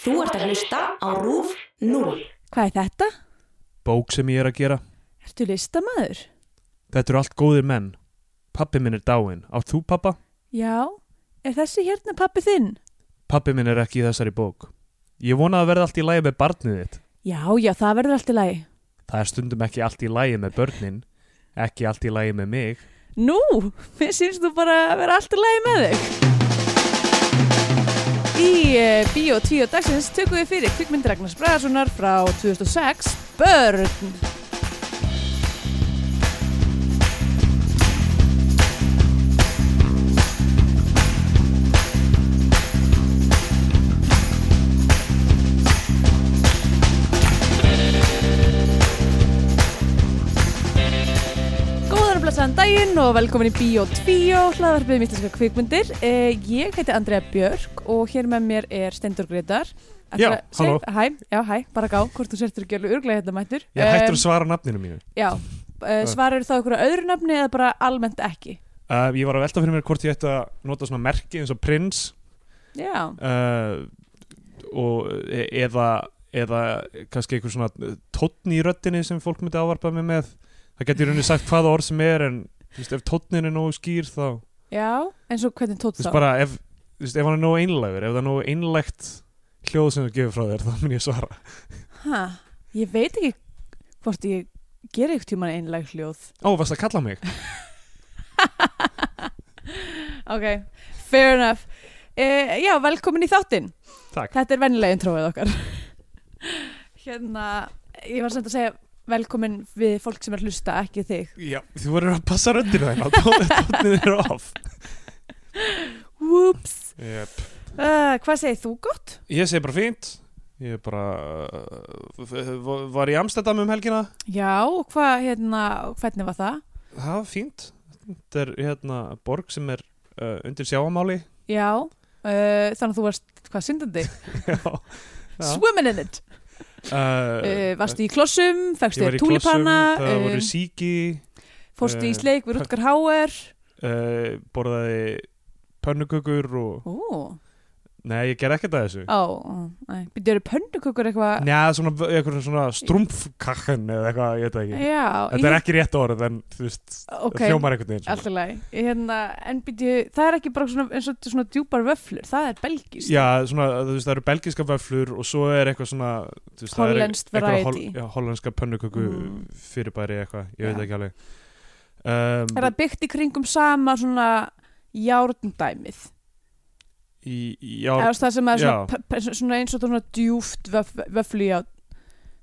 Þú ert að hlusta á RÚF 0. Hvað er þetta? Bók sem ég er að gera. Ertu listamaður? Þetta eru allt góðir menn. Pappi minn er dáinn. Átt þú pappa? Já, er þessi hérna pappi þinn? Pappi minn er ekki í þessari bók. Ég vona að verða allt í lægi með barnið þitt. Já, já, það verður allt í lagi. Það er stundum ekki allt í lægi með börnin, ekki allt í lægi með mig. Nú, mér syns þú bara að vera allt í lagi með þig. Í uh, Bíó 2 dagsins tökum við fyrir kvikmyndir Ragnars Bragarssonar frá 2006, Börn. Góðan og blessaðan daginn og velkomin í Bíó 2, hlaðarpið um íslenska kvikmyndir. Eh, ég heiti Andrea Björk og hér með mér er Stendur Gretar. Já, halló. Hæ, já, hæ, bara gá, hvort þú sértur ekki alveg örglega hérna mættur. Ég hættur Em, að svara nafninu mínu. Já, uh, svarar þá einhverju öðru nafni eða bara almennt ekki? Uh, ég var að velta fyrir mér hvort ég ætti að nota svona merki eins og prins Já, uh, og e- eða, eða kannski einhver svona tónn í röddinni sem fólk myndi ávarpa mig með. Það getur rauninni sagt hvaða orð sem er en þú veist, ef tónnin er nógu skýr þá... já, eins og hvernig tótt þá? þú veist bara ef, þú veist, ef hann er nógu einlægur ef það er nógu einlægt hljóð sem þú gefur frá þér þá mun ég svara Ha, ég veit ekki hvort ég ger eitthvað tíma einlæg hljóð. ó, varst að kalla mig? Ok, fair enough. Uh, já, velkomin í þáttinn. takk Þetta er vennilega intróið okkar. hérna, ég var samt að segja velkomin við fólk sem er að hlusta, ekki þig. já, þú voru að passa röndinu þeim tónið er off Whoops. yep. Uh, hvað segir þú gott? ég segi bara fínt ég bara uh, var í Amsterdam um helgina Já, og hvað, hérna, hvernig var það? það var fínt þetta er hérna borg sem er uh, undir sjáamáli Já, uh, þannig að þú varst, hvað, syndandi? já, já. Swimming in it uh, Varstu í klossum, fegstu ég var þér í eh? klossum, túlipanna það voru síki Fórstu í eh, sleik við Rutger Hauer uh, borðaði pönnukökur og Ó, Nei, ég ger ekkert að þessu á, nei Býttu eru pönnukökur eitthvað Njá, svona, eitthvað svona strumpfkakken eða eitthvað, ég veit það ekki Já, Þetta er ekki rétt orð, en þú veist, Ok, okay. hljómar einhvern veginn svona. allt í lagi hérna, En býttu, það er ekki bara svona, eins og svona djúpar vöflur Það er belgist Já, svona, þú veist, það eru belgiska vöflur og svo er eitthvað svona þú veist, það eru Hollenskt eitthvað variety. já, hollenska pönnuköku Mm. fyrirbæri eitthvað, ég veit Já. ekki alveg Er um, það byggt í kringum sama svona járndæmið í, í, Eða Já, það sem er svona, já. p- p- svona eins og svona djúft vöf, vöflu já,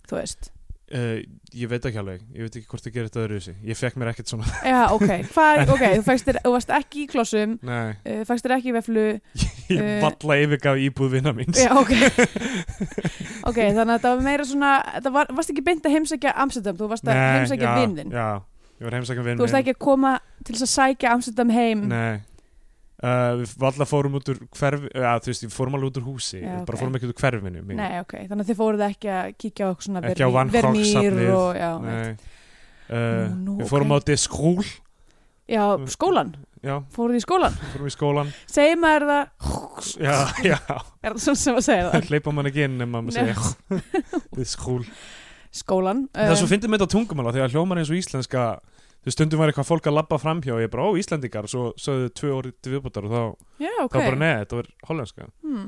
þú veist uh, ég veit ekki alveg Ég veit ekki hvort það gerir þetta öðru þessi Ég fekk mér ekkert svona, Já, ok, Hva, ok, þú, fékkst þér, þú varst ekki í klossum nei uh, fækst þér ekki í veflu Ég Eh, valla yfirgaf íbúð vinna míns Já, ok Ok, þannig að það var meira svona það var, varst ekki beint að heimsækja Amsterdam þú varst að heimsækja já, vinn þinn Já, ég var heimsækja vinn Þú varst ekki að koma til þess að sækja Amsterdam heim Nei uh, Við valla fórum út úr hverfi ja, Þú veist, við fórum alveg út úr húsi Já, Bara ok. fórum ekki út úr hverfinu mínu. Nei, ok, þannig að þið fóruð ekki að kíkja á eitthvað svona Ekki á Vermeer- Van Gogh safnið. Vermeer og, já, einmitt. Nei. Uh, Nú, nú, Við fórum ok. á diskrúl já, skólan, Já, fóruð í skólan fórum í skólan Segir maður það, Já, já er það svona sem að segja það Hleypa mann ekki inn nema maður Nei. segja Diskrúl Skólan Það er um, svo fyndið með þetta tungumála Þegar hljómar eins og íslenska Þau stundum var eitthvað fólk að labba framhjá og Ég bara, ó, Íslendingar Svo sögðu þau tvö orðið til viðbútar Og þá, Já, þá bara, ok nei, þetta var hollenska hmm.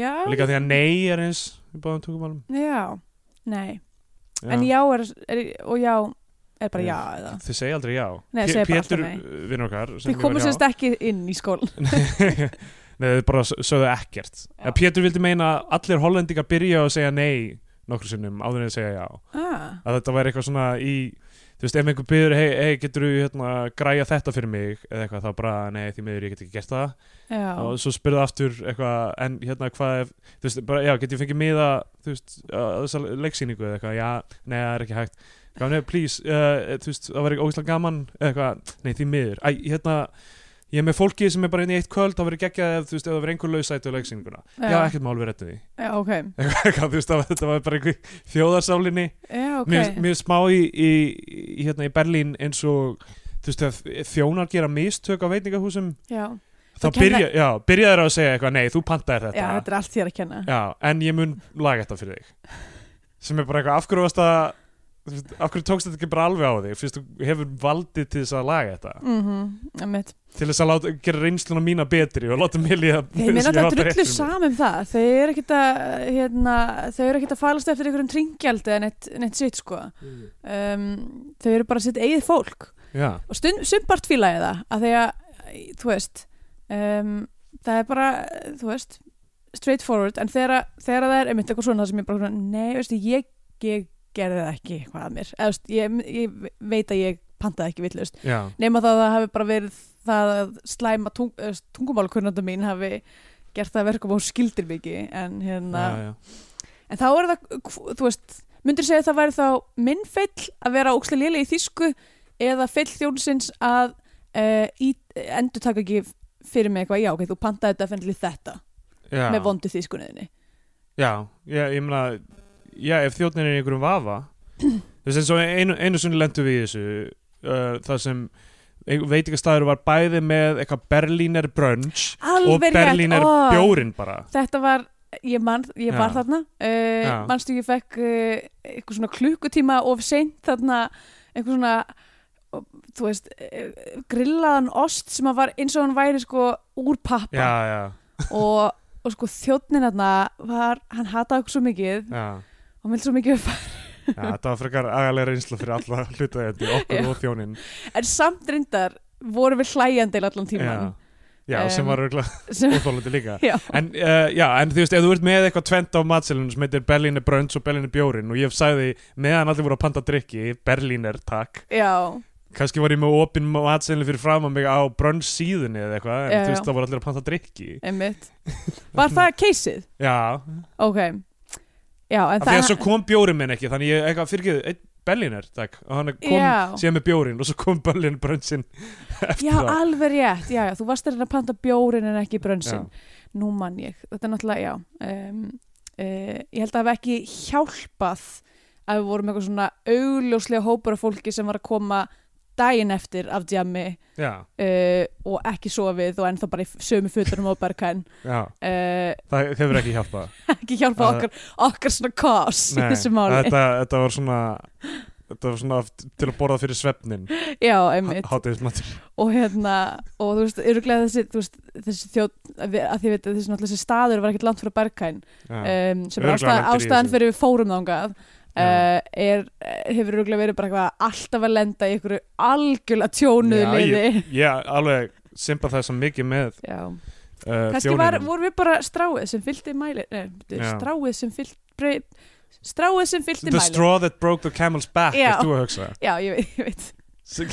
Já, Líka því að nei er eins Í báðum tungumálum já, nei Já. En já er, er, og já er bara Já. já eða Þið segja aldrei já Nei, Pé- segja bara Pétur, alltaf uh, vinur okkar sem Þið ég var komu hjá- sérst ekki inn í skólan Nei, þau bara s- sögðu ekkert Já. En Pétur vildi meina að allir hollendingar byrja að segja nei nokkru sinnum áður en að segja já ah, að þetta væri eitthvað svona í þú veist, ef einhver byrður, hei, hey, getur þú hérna, græja þetta fyrir mig eða eitthvað, þá bara, nei, því miður, ég get ekki gert það Já, og svo spyrðu aftur eitthvað, en hérna, hvað ef þú veist, bara, já, get ég fengið miða þú veist, að þessa leiksýningu eða eitthvað, já, nei, það er ekki hægt Gaf, nei, please, uh, þú veist, það væri ógislega gaman eða eitthvað, nei, því miður Æ, hérna, ég er með fólki sem er bara inn í eitt kvöld það væri geggjað ef, þú veist, ef það væri einhver lausæti á leiksýninguna já, já, ekkert mál við rettum því já, ok eitthvað, þú veist, það var- þetta var bara einhver þjóðarsálinni Já, ok mér, mér smá í, í, í, hérna, í Berlín eins og þú veist, að þjónar gera mistök á veitingahúsum Já, þá kenna- byrja, já, byrjaður á að segja eitthvað nei, þú pantaðir Já, þetta, þetta er allt þér að kenna Já, en ég mun laga þetta fyrir þig sem er bara eitthvað af hverju varst að af hverju tókst þetta ekki bara alveg á þig fyrst þú hefur valdið til þess að laga þetta Mhm, einmitt. til þess að láta, gera reynsluna mína betri og láta mig líða Þeim er eins og ég náttúrulega átti rétt drullu fyrir mig. saman um það Þau eru ekkit að hérna, Þau eru ekkit að falast eftir einhverjum tringjaldi En eitt, eitt sitt sko um, Þau eru bara sitt eigið fólk Já, Og stund, sumpart fíla ég það Að því að, þú veist um, Það er bara, þú veist Straightforward En þegar, að- þegar það er einmitt eitthvað svona Það sem ég bara, svona, nei, veistu, ég, ég gerði það ekki Hvað að mér Eða, þú veist, ég, ég veit að ég pantaði ekki villust já, nema það að það hafi bara verið það að slæma tung, tungumálkunnanda mín hafi gert það að verka og hún skildir mikið en, hérna, já, já. en þá er það, hv- þú veist myndir segja að það væri þá minn feill að vera ókslega lélega í þýsku eða feill þjónsins að uh, endur taka ekki fyrir mig eitthvað, já ok, þú pantaði þetta fennli þetta já. með vondu þýskunniðinni Já, ég, ég meina Já, ef þjóðnin er í einhverjum vafa þú veist eins og einu, einu sunni lendum við í þessu uh, þar sem veitingastæður var bæði með eitthvað Berliner brunch og alveg rétt, Berliner ó, bjórin bara þetta var ég, man, ég Já. var þarna uh, Já. manstu ég fekk uh, eitthvað svona klukkutíma of seint þarna eitthvað svona og, þú veist, eh, grillaðan ost sem að var eins og hann væri sko úr pappa Já, já, og, og sko þjónnin þarna var, hann hataði okkur svo mikið já, og hann vildi svo mikið fara já þetta var frekar agalega reynsla fyrir alla hlutaðið okkur Já. og þjónin en samt reyndar voru við hlæjandi allan Já, tíman já sem Em, var örgulega sem, óþólandi líka já, En, uh, já, en þú veist, ef þú ert með eitthvað tvent á matselunum sem heitir Berliner Brunch og Berliner Bjórin og ég sagði meðan allir voru að panta drikki Berliner, takk já, kannski var ég með opinn matseðli fyrir fram að mig á brönns síðunni eða eitthvað, en Já, þú já. veist það voru allir að panta drikki. einmitt var það keysið? Já, ok já, en af því að svo kom bjórin minn ekki, þannig ég eitthvað fyrirgeðu, einn Berliner, takk, og hann kom Já. síðan með bjórin og svo kom Berliner brönnsinn eftir Já, það. alveg rétt, já, já, þú varst að reyna að panta bjórin en ekki brönsin, nú mann ég þetta er náttúrulega, já um, uh, ég held að hafa ekki hjálpað að við vorum eitthvað svona augljóslega hópur af fólki sem var að koma daginn eftir af djami Já, uh, og ekki sofið og ennþá bara í sömu fötunum á bergkæn já, uh, það hefur ekki hjálpað. ekki hjálpað Það- okkar, okkar svona kás í þessu máli, þetta, þetta var svona, þetta var svona aft- til að borða fyrir svefnin, já, einmitt hátegismatur. og hérna, og þú veist, öruglega þessi, þú veist, þessi þjóð, að því við veit að þessi, náttúrulega þessi staður var ekkert langt frá bergkæn Já, um, sem er Örugglega ástæðan, lendir í ástæðan þessu. fyrir við fórum þangað uh, Já. er, eh, hefur rúglega verið bara eitthvað alltaf að lenda í einhverju algjörlega tjónuðu Já, liði ég, ég alveg simpa það sem mikið með uh, Já, kannski var, þjóninum. vorum við bara stráið sem fyllti mæli nei, byrju, Já. stráið sem fyllti stráið sem fyllti The mæli straw that broke the camel's back, Já. er þú að hugsa? Já, ég veit, ég veit sem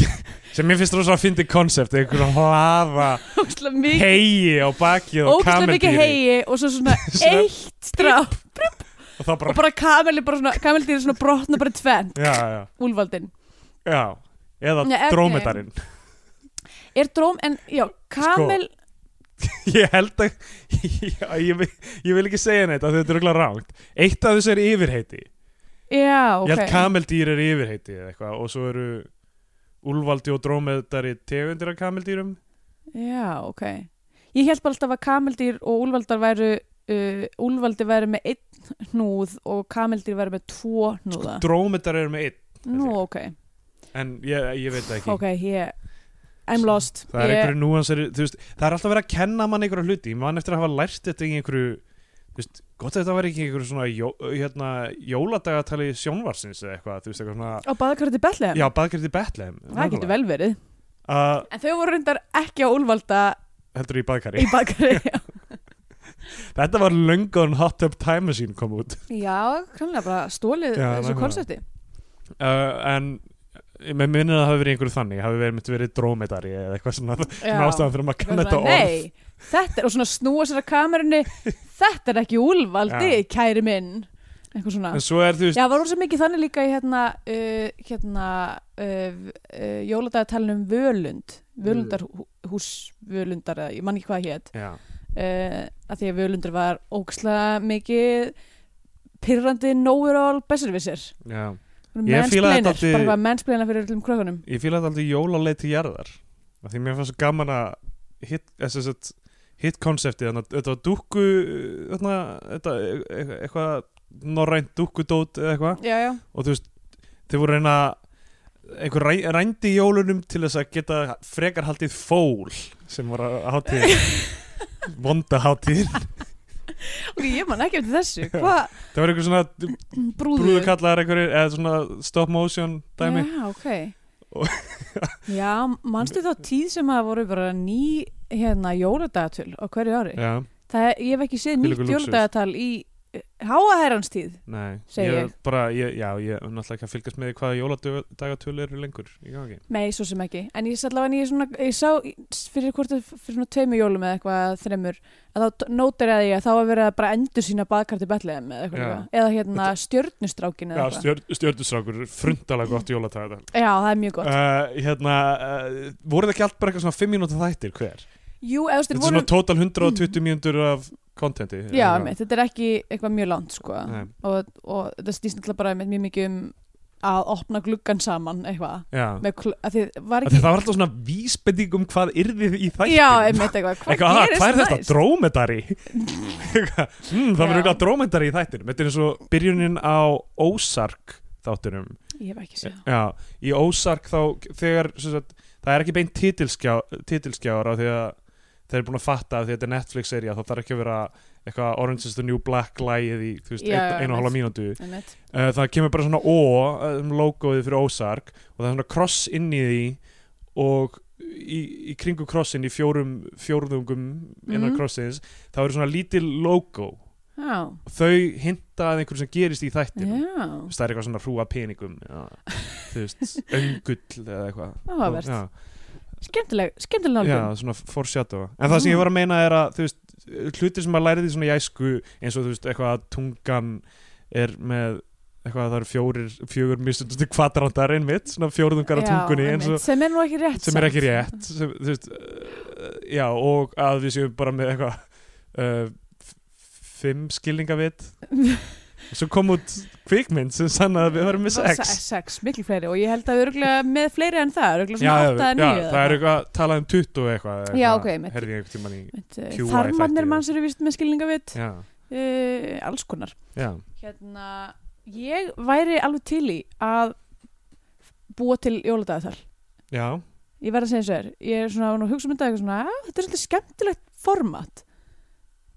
sem mér finnst rosa að fyndi konsept einhver hlaða Ógstlega mikið hegi á bakið og Ógstlega mikið kameldýri hegi og svo svona Svona- eitt strá og það og bara, bara kameli bara svona, kameldýri svona brotna bara tvenn, já, já, úlvaldin já eða Nei, ok. drómedarinn Er dróm, en já, Sko. kamel ég held að já, ég, vil- ég vil ekki segja neitt af því þetta er auðvitað rangt eitt af þessu er yfirheiti Já, ok ég held kameldýr er yfirheiti eða eitthvað og svo eru úlvaldi og drómedari tegundir af kameldýrum Já, ok. Ég held bara alltaf að kameldýr og úlvaldar væru uh, úlvaldi væri með einn hnúð og kameldýr væri með tvo hnúða. Sko, drómedari eru með einn Nú, ok. en ég, ég veit það ekki Ok, ég... I'm lost. það er ég, einhverju núansari þú veist, það er alltaf verið að kenna mann einhverju hluti mann eftir að hafa lært þetta í einhverju þú veist, gott að þetta var ekki einhverju svona jó, hérna, jóladagatali sjónvarsins eða eitthvað, þú veist, eitthvað svona Á baðakrætti Bethlehem? já, baðgjörði Bethlehem Það getur vel verið. uh, En þau voru reyndar ekki á úlvalda heldur í í baðgjörði baðakrætti. þetta var löngun Hot Tub Time Machine kom út Já, kannlega bara stólið Já, þessu nákvæmlega. konsepti. uh, en með minni að það hafi verið einhverju þannig hafi verið, myndi verið drómedari eða eitthvað svona svona ástæðan fyrir að maður kann Bara, þetta orð Nei, þetta er, og svona snúa sér að kamerunni, þetta er ekki úlvaldi, Já. kæri minn. Eitthvað svona. en svo er þú veist, Já, það var rosa mikið þannig líka í hérna, uh, hérna uh, uh, jóladagatalunum Völund, Mm. Völundarhús Völundar, eða ég man ekki hvað það hét, já, uh, að því að Völundur var ókslega mikið pyrrandi know-it-all besservissir. já. Ég fílaði Mansplainer, dálítið- bara hvað mennsplainer fyrir öllum krökunum. ég fíla þetta aldrei jólaleið til jarðar af því mér fannst svo gaman að hit, þess að hit konceptið, þannig að þetta var dúkku þarna, þetta eitthvað- eitthvað norrænt dúkkudót eða eitthvað já, já, og þú veist, þau voru að reyna einhver ræ, rændi í jólunum til þess að geta frekar haldið fól sem var að hátíð vonda hátíð ok, ég man ekki eftir þessu hvað það var einhver svona brúður brúðukallar einhverjir eða svona stop motion dæmi já, Og- ok já, manstu þá tíð sem að voru bara ný hérna jóladagatöl á hverju ári já, það, er- ég hef ekki séð Hvílíkur nýtt lúxus. jóladagatal í háaherrans tíð nei Segi ég, ég. bara, ég, já, ég er náttúrulega ekki að fylgjast með því hvaða jóladagatölu eru lengur í gangi Nei, svo sem ekki, en ég sætla að ég, svona, ég sá fyrir hvort að- fyrir svona tveimur jólum eða eitthvað þremur að þá nótariði ég að þá að vera að bara endur sína baðkarti betliðum eða eitthvað Já. líka. eða hérna stjörnustrákin eða já, eitthvað stjörn, stjörnusrákur, frundalega gott jóladagatölu Já, það er mjög gott uh, hérna, uh, voru það ekki allt bara eitthvað svona 5 mínúta þættir hver Jú, eða þú veist, þetta þeir er voru svona total 120 mínútur af kontenti Já, mitt, þetta er ekki eitthvað mjög langt sko. Nei. og, og þetta snýst náttúrulega bara einmitt mjög mikið um að opna gluggan saman eitthvað Já. Með kl- að þið var Af því ekki Það var alltaf svona vísbending um hvað yrði í þættinum Já, einmitt eitthvað, hvað Eitthvað, "Ah, gerist hvað er þetta? næst? Drómedari? Eitthvað, mm, það Já. verður eitthvað drómedari í þættinum Þetta er eins og byrjunin á Ósark þáttunum Ég hef ekki séð það Já, í Ósark þá þegar, sem sagt, það er ekki beint titilskjá, titilskjára því að þeir eru búin að fatta að því að þetta er Netflix-sería þá þarf ekki að vera eitthvað Orange is the New Black lægið í, þú veist, Já, ein- já, einu og hálfa einmitt. mínútu Einmitt. uh, það kemur bara svona O um logoið fyrir Ozark og það er svona kross inn í því og í, í kringu krossin í fjórum fjórðungum innan Mhm. krossins þá eru svona lítil logo Já, og þau hinta að einhverju sem gerist í þættinu já Þú veist, það er eitthvað svona hrúa peningum já, þú veist, öngull eða eitthvað Áhugavert. Já. Skemmtileg, skemmtileg nálgun. Ah. Já, svona foreshadow En það sem ég var að meina er að þú veist, hlutir sem maður lærið í svona jæsku eins og þú veist, eitthvað að tungan er með eitthvað að það eru fjórir fjögur mistundustu kvadrantar einmitt svona fjórðungar á tungunni eins einmitt, og, sem er nú ekki rétt. sem er ekki samt. rétt sem, þú veist, uh, já, og að við séum bara með eitthvað uh, f- fimm skilningavit og svo kom út kvikmynd sem sann að við varum með Bara sex se- Sex, miklu fleiri og ég held að öruglega með fleiri en það, öruglega Já, svona 8 já, já, að 9. það er eitthvað talað um 20 eitthvað, eitthvað Já, ok, einmitt. heyrði ég einhvern tímann í QI eitthvað. Þarmannir þætti. manns eru vist með skilningavit, Já, uh, alls konar. já Hérna, ég væri alveg til í að búa til jóladagatal. Já, Ég verð að segja eins og er. Ég er svona, nú hugsa um þetta eitthvað svona, "Ah, þetta er svolítið skemmtilegt format,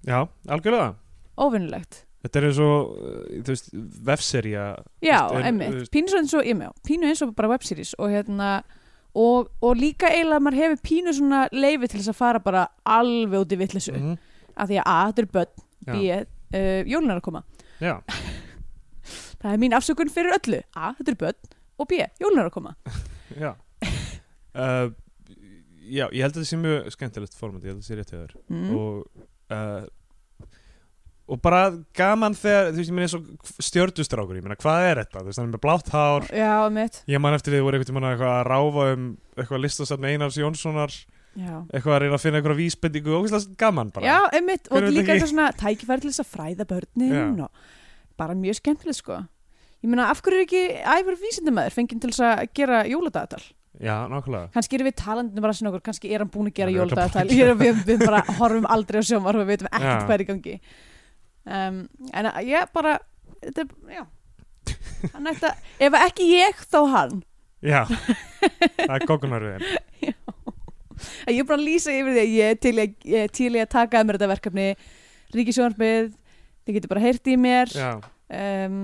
já, algjörlega óvinnulegt. Þetta er eins og, uh, þú veist, vefserja Já, Þú veist, en, þú einmitt, veist- pínu svo eins og, ég með, pínu eins og bara webseries og hérna og, og líka eiginlega að maður hefur pínu svona leifi til þess að fara bara alveg út í vitleysu mm. Mhm. af því að A, þetta er börn, B, Já, uh, jólun er að koma já, það er mín afsökun fyrir öllu, A, þetta er börn og B, jólun er að koma já uh, Já, ég held að þetta sé mjög skemmtilegt formandi, ég held að þetta sé rétt hjá þér mm. og uh, og bara gaman þegar, þú veist, ég meina eins og stjördustrákur, ég meina, hvað er þetta? Þú veist, hann er með blátt hár Já, einmitt Ég man eftir því voru einhvern tímann eitthvað að ráfa um eitthvað listasafn Einars Jónssonar Já, eitthvað að reyna að finna eitthvað vísbendingu og ógeðslega gaman bara Já einmitt, Hver og veit líka ekki? eitthvað svona tækifæri til þess að fræða börnin Já. og bara mjög skemmtilegt sko Ég meina, af hverju er ekki æfur vísindamæður fenginn til þess að gera jóladagatal? já nákvæmlega kannski erum við talandinu bara svona okkur, kannski er hann búin að gera Hann er örugglega jóladagatæl, búinn að við, við, við bara horfum aldrei á sjómar og við veitum Já. ekkert hvað er í gangi um, en að- ég bara þetta, er- já hann ætti að, ef ekki ég þá hann Já, það er kokkunarviðin En ég er bara að lýsa yfir því að ég er til, í að- ég er til í að taka að mér þetta verkefni Ríkisjónarbið, þið getur bara heyrt í mér Já um,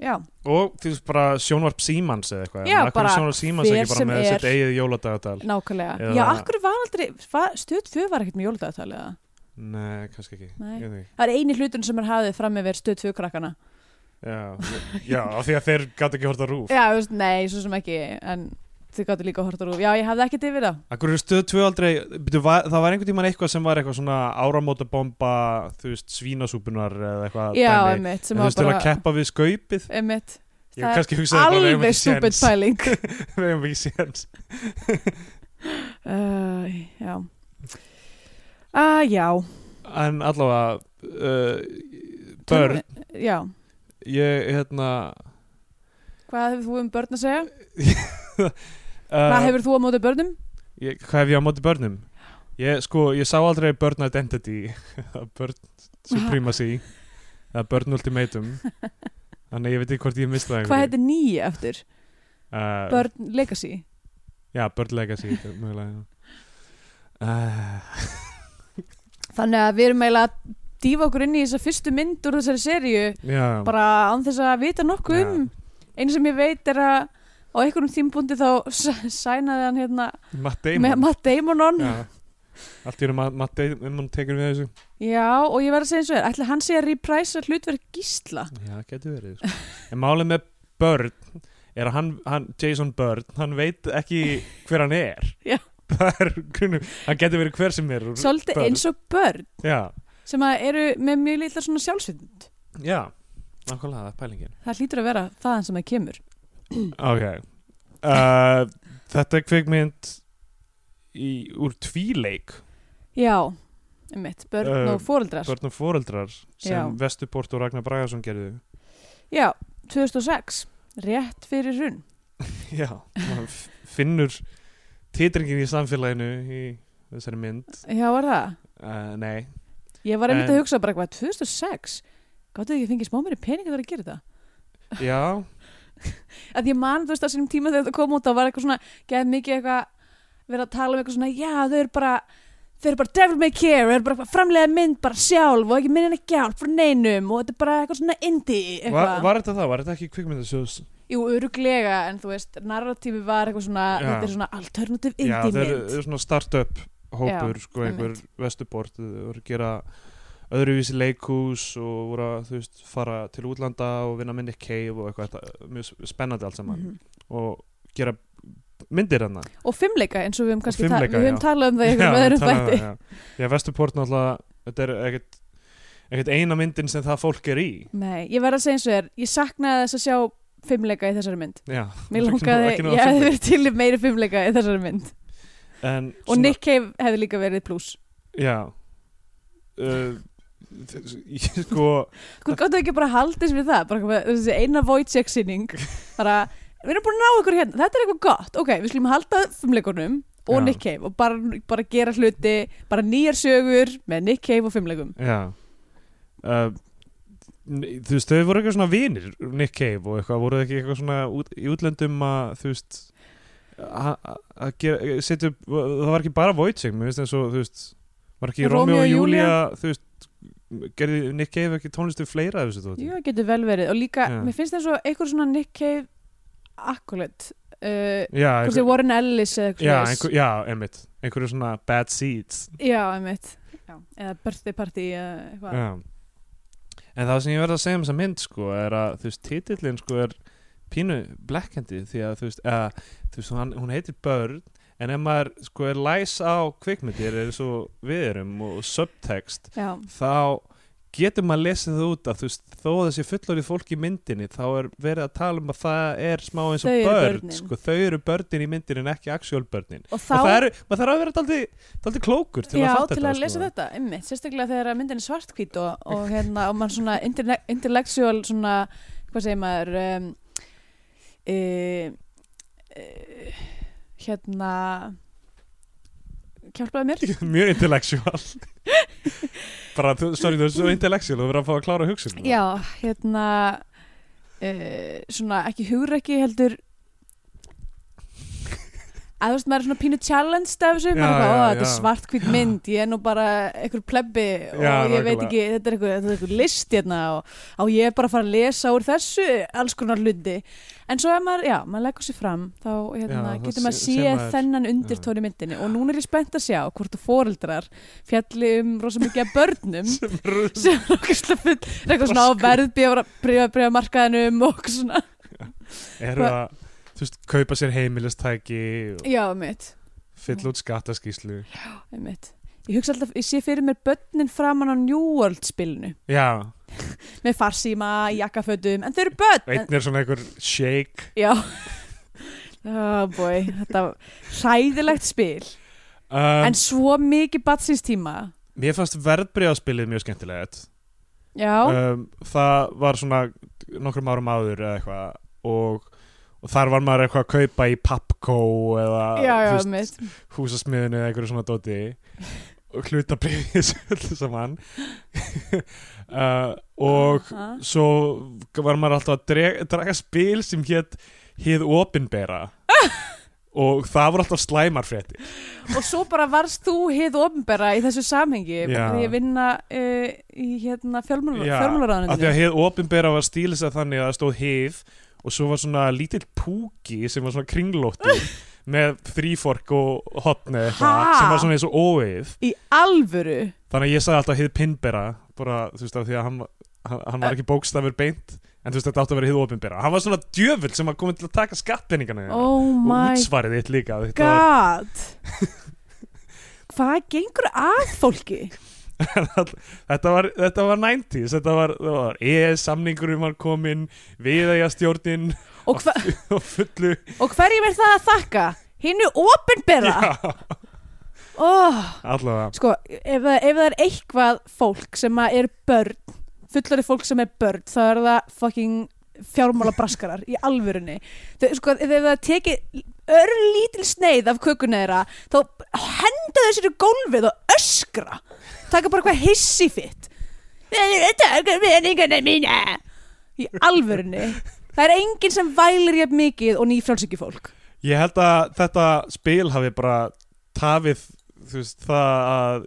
já, Og þú veist bara sjónvarp Símans eða Já, eitthvað En af hverju bara sjónvarp Símans hver ekki bara sem með er. sitt eigið jóladagatal nákvæmlega Eða- já, akkur var aldrei, fa- stöð 2 var ekkert með jóladagatæl eða? Nei, kannski ekki Nei. Ég veit ekki. það er eini hluturinn sem er hafið fram með verið stöð 2 krakkana Já, já af því að þeir gat ekki horta rúf Já, þú veist, nei, svo sem ekki en þið gáttu líka að horta rúf Já, ég hafði ekkert yfir það Akkur eru stöð tvö aldrei byrju, var, Það var einhvern tímann eitthvað sem var eitthvað svona áramótabomba Þú veist, svínasúpunar eða eitthvað Já, dæmi. einmitt, En sem þú var veist, til að bara keppa við skaupið einmitt, Ég Það er kannski hugsaði bara við eigum alveg ekki stupid séns. pæling Við hefum ekki séns uh, Já uh, Já En allavega uh, Börn, Já, ég hérna hvað hefur þú um börn að segja? uh, Eh, Hvað hefur þú á móti börnum? ég, hvað hef ég á móti börnum? Ég, sko, ég sá aldrei Burn Identity eða Burn Supremacy eða Burn Ultimatum þannig að ég veit ekki hvort ég mista það Hvað heitir nýja eftir? Uh, Burn Legacy Já, Burn Legacy mjögulega, uh, Þannig að við erum eiginlega að dýfa okkur inn í þessa fyrstu mynd úr þessari seríu Já, bara án þess að vita nokkuð Já. um einu sem ég veit er að á einhverjum tímbúndi þá s- sænaði hann hérna Matt með Damon Matt Damon on já. Já. Allt í einu Ma- Matt Damon tekur við þessu og ég verð að segja eins og þér ætli hann sé að repræsa hlutverk gísla Já, getur verið sko. En málið með Bird er að hann, hann Jason Bird, hann veit ekki hver hann er Já. Það er grunum, hann getur verið hver sem er úr- svolítið Börn. eins og börn Já, sem að eru með mjög litla svona sjálfsvind já Nákvæmlega, það er pælingin það hlýtur að vera þaðan sem það kemur Ok uh, Þetta er kvikmynd í, úr tvíleik já, mitt, börn Eh, og foreldrar Börn og foreldrar sem Já. Vesturport og Ragnar Bragason gerðu já, 2006 rétt fyrir hrun Já, maður f- finnur titringin í samfélaginu í þessari mynd já, var það uh, Nei, Ég var einmitt En- að hugsa bara hvað, 2006? Gáttu þið ekki að fengið smá meiri peninga þegar að gera þetta? já Að ég man, þú veist, á sínum tíma þegar þetta kom út þá var eitthvað svona, geð mikið eitthvað verið að tala um eitthvað svona, já, þau eru bara þau eru bara devil may care, þau eru bara að framlega mynd bara sjálf og ekki minna en ekki frá neinum og þetta er bara eitthvað svona indie eitthvað. Var, var þetta það? Var þetta ekki kvikmyndasjóðs? Jú, öruglega, en þú veist, narratífi var eitthvað svona, Já. þetta er svona alternative Já, indie þeir mynd. eru svona start-up hópur, sko, einhver einmitt. vestubort þeir voru að gera öðruvísi leikhús og voru að, þú veist, fara til útlanda og vinna minni cave og eitthvað, þetta, mjög spennandi allt saman Mhm. og gera myndir hennar Og fimmleika, eins og við höfum kannski ta- fimmleika, við höfum já. talað um það í einhverjum öðrum þætti. já. já, vestuport náttúrulega þetta er ekkert, ekkert eina myndin sem það fólk er í Nei, ég verð að segja eins og þér, ég saknaði þess að sjá fimmleika í þessari mynd. Já, Mér ekki nóg- langaði, ekki nóg ég að hefði finna. verið til í meiri fimmleika í þessari mynd. En Og svona- Nick Cave hefði líka verið pluss. Já uh, þess- ég- Sko Hvort gáttu ekki bara haldist við það, bara hvað- þessi eina Wojciech sinning, bara, við erum búin að ná ykkur hérna, þetta er eitthvað gott, ok, við slíum halda fimmleikunum og Já. Nick Cave og bara, bara gera hluti, bara nýjar sögur með Nick Cave og fimmleikum. Já uh, n- Þú veist, þau voru eitthvað svona vinir Nick Cave og eitthvað, voru þau ekki eitthvað svona út, í útlöndum að þú veist að að gera, setja upp það var ekki bara Voitsing, mér finnst eins og þú veist, var ekki Romeo og Julia þú veist, gerði Nick Cave ekki tónlistu fleira af þessu tóti Jú, það getur vel verið og líka, Já. mér finnst eins og einhver svona Nick Cave akkurat, uh, Já, hvort þið einhver, Warren Ellis eða eitthvað já, svoleiðis. einhver, já, einmitt einhverju svona bad seeds Já, einmitt Eða birthday party eða eitthvað Já. En það sem ég verð að segja um þessa mynd sko er að þú veist titillin sko er pínu blekkandi því að þú veist, að, þú veist hann, hún heitir Börn en ef maður sko er læs á kvikmyndir er svo við erum og subtext Já, þá getur maður lesið það út að þú veist þó að þessi fullorðið fólk í myndinni þá er verið að tala um að það er smá eins og Þau eru börn börnin. sko, þau eru börnin í myndinni en ekki actual börnin og þá og það eru, maður þarf að vera daldið daldi klókur til Já, að fatta til þetta að lesa sko. þetta, einmitt, sérstaklega þegar að myndin er svartkvít og, og hérna, og mann svona interne- intellectual svona, hvað segir maður um, e, e, hérna hjálpaði mér mjög intellectual bara, þú, sorry, þú er svo intellectual og verður að fá að klára hugsun Já, hérna e, svona ekki hugrekki heldur að þú veist, maður er svona pínu challenged af þessu, Já, maður er já, eitthvað, ó, þetta er já. svartkvít mynd, ég er nú bara einhver plebbi og Já, ég veit nákvæmlega. ekki, þetta er einhver, þetta er einhver list hérna og á ég er bara að fara að lesa úr þessu alls konar hluti en svo ef maður, já, maður leggur sér fram þá hérna, Já, þá getur maður sé- séð sér maður- þennan undir tóni myndinni og núna er ég spennt að sjá hvort að foreldrar fjalli um rosa mikið að börnum sem er ógeðslega full er eitthvað svona á verðbríða markaðinum og eitthvað svona eru að, þú veist, kaupa sér heimilistæki og já, mitt, fylla út skattaskíslu mitt. ég hugsa alltaf, ég sé fyrir mér börnin framan á New World spilinu já, með farsíma, jakkafötum, en þau eru börn en, einn er svona einhver shake já oh boy, þetta var hræðilegt spil um, en svo mikið batsins tíma mér fannst verðbríðaspilið mjög skemmtilegt já, Uh, um, það var svona nokkrum árum áður eða eitthvað og, og þar var maður eitthvað að kaupa í Papco eða já, já, þú mitt húsasmiðinu eða einhverju svona dóti og hlutabrifið þessu öllu saman uh, og Aha. svo var maður alltaf að drega, draga spil sem hétt hið opinbera og það voru alltaf slæmar frétti og svo bara varst þú hið ofnbera í þessu samhengi Já. því að vinna uh, í hérna af því fjármálaráðanindinu að hið opinbera var stílis að þannig að það stóð hið og svo var svona lítill púki sem var svona kringlóttu með þrýfork og hotni eitthvað Ha? sem var svona eins og óið í alvöru þannig að ég sagði alltaf hið pinbera bara þú veist af því að hann, hann, hann Eh. var ekki bókstafur beint en þú veist þetta átti að vera hið opinbera hann var svona djöfull sem var komin til að taka skattpenningana þína. oh og my útsvarið þitt líka þetta var- god hvað gengur að fólki þetta var, þetta var 90s þetta var, það var ES samningurum var komin viðægjastjórnin og, hva, og fullu og hverjum er það að þakka hinnu ofnbera Já, oh. allavega sko, ef það, ef það er eitthvað fólk sem að er börn fullari fólk sem er börn, þá er það fucking fjármála braskarar í alvörunni þau, sko, ef það er tekið örlítil sneið af kökunni þeirra þá henda þau sér í gólfið og öskra taka bara eitthvað hissi fitt taka meningana mína í alvörunni það er enginn sem vælir ég mikið og nýfrálsiki fólk ég held að þetta spil hafi bara tafið þú veist, það að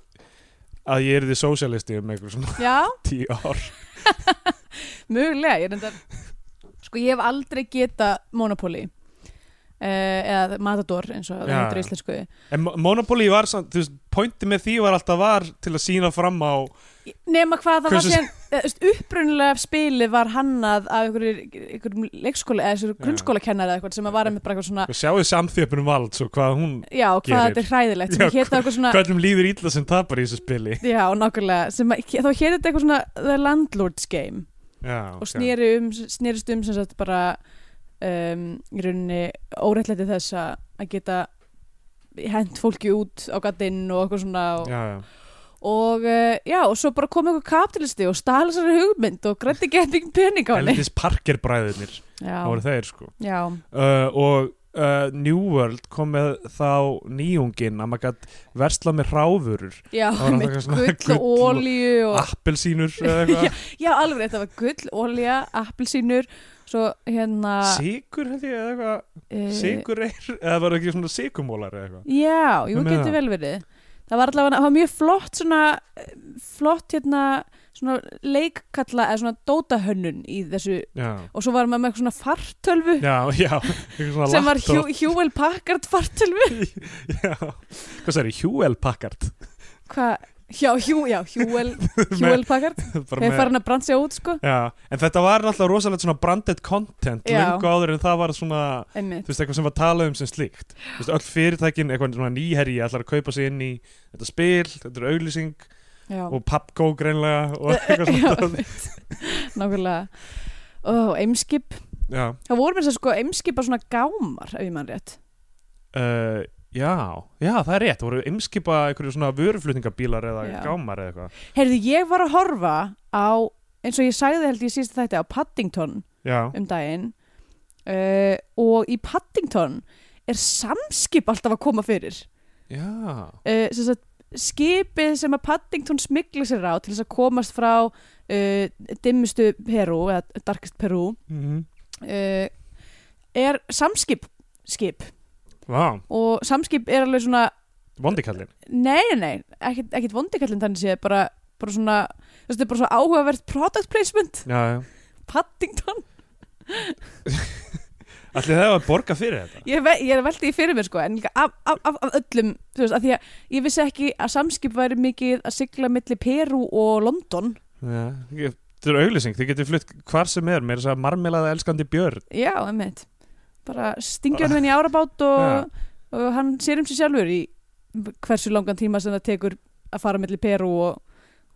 að ég er því sósialisti um einhver svona já, tíu ár Mögulega, ég reyndar Sko, ég hef aldrei geta Monopoly uh, eða Matador eins og það Já. heitir í íslensku en Mo- Monopoly var samt, þú veist, pointi með því var alltaf var til að sína fram á Nema hvað það var Hversu- síðan eða, þú veist, upprunnilega spilið var hannað af einhverjum, einhverjum leikskóla eða þessu grunnskólakennari eða eitthvað sem að vara með bara eitthvað svona og sjáu samþjöpunum vald svo hvað hún, Já, hvað Gerir. þetta er hræðilegt sem Já, hétta eitthvað svona hvernig líður ítla sem tapar í þessu spili Já, nákvæmlega sem að, þá hétta þetta eitthvað svona The Landlord's Game Já, og ok. snýri um, snýrist um sem sagt bara um, í rauninni óreittlæti þess að að geta hent fólki út á gattinn og eitthvað svona og, já, já. og uh, já, og svo bara kom einhver kapitalisti og stala sér hugmynd og grætti getting pening á henni Eldis Parker bræðurnir Já, það voru þeir sko já, uh, og uh, New World kom með þá nýjungin að maður gætt versla með ráfurur já, Það var mitt eitthvað svona gull og gull Ah. og- ólíu og, appelsínur eða eitthvað já, alveg, þetta var gull, ólíja, appelsínur svo hérna sigur held ég eða eitthvað eh, sigur er eða var ekki svona sigumólar eða eitthvað Já, jú, Við með getur það. vel verið Það var allavega, það var mjög flott svona, eh, flott hérna svona leikkalla eða svona dótahönnun í þessu já, og svo var maður með eitthvað svona fartölvu já, já eitthvað svona sem var laptop. Hjú- Hjúel Packard fartölvu já. hvað sér, Hjúel Packard Hvað, já, Hjú, já, Hjúel Hjúel Packard, Bara hefur með- farin að bransja út sko já, en þetta var náttúrulega rosalegt svona branded content Já. löngu áður en það var svona Einmitt, þú veist, eitthvað sem var talað um sem slíkt þú veist, öll fyrirtækin, eitthvað svona nýherji ætlar að kaupa sig inn í þetta spil þetta er auglýsing já og Pabgo greinlega og eitthvað Já, svona einmitt. Nákvæmlega Ó, eimskip já, Það voru mér þess að sko eimskipa svona gámar ef ég mann rétt uh, já, já, það er rétt það voru ymskipa einhverju svona vöruflutningabílar eða Já. gámar eða eitthvað Heyrðu, ég var að horfa á eins og ég sagði held ég síðast þetta á Paddington já, um daginn uh, og í Paddington er samskip alltaf að koma fyrir já, uh, sem sagt, skipið sem að Paddington smigla sér á til þess að komast frá uh, dimmustu Perú eða darkest Perú mhm, uh, er samskip skip vá, og samskip er alveg svona vondikallin nei, nei, nei, ekkit, ekkit vondikallin þannig séð bara, bara svona þetta er bara svona áhugavert product placement já, já Paddington Allir það var að borga fyrir þetta ég, ve ég er að velta því fyrir mér sko en líka af, af, af, af öllum þú veist, af því að ég vissi ekki að samskip væri mikið að sigla milli Peru og London já, ég- Þetta er auglýsing, þið getur flutt hvar sem er meira þess að marmelaða elskandi björn já, emmitt bara stingjörn henni í árabát og, og hann sér um sig sjálfur í hversu langan tíma sem það tekur að fara milli Peru og,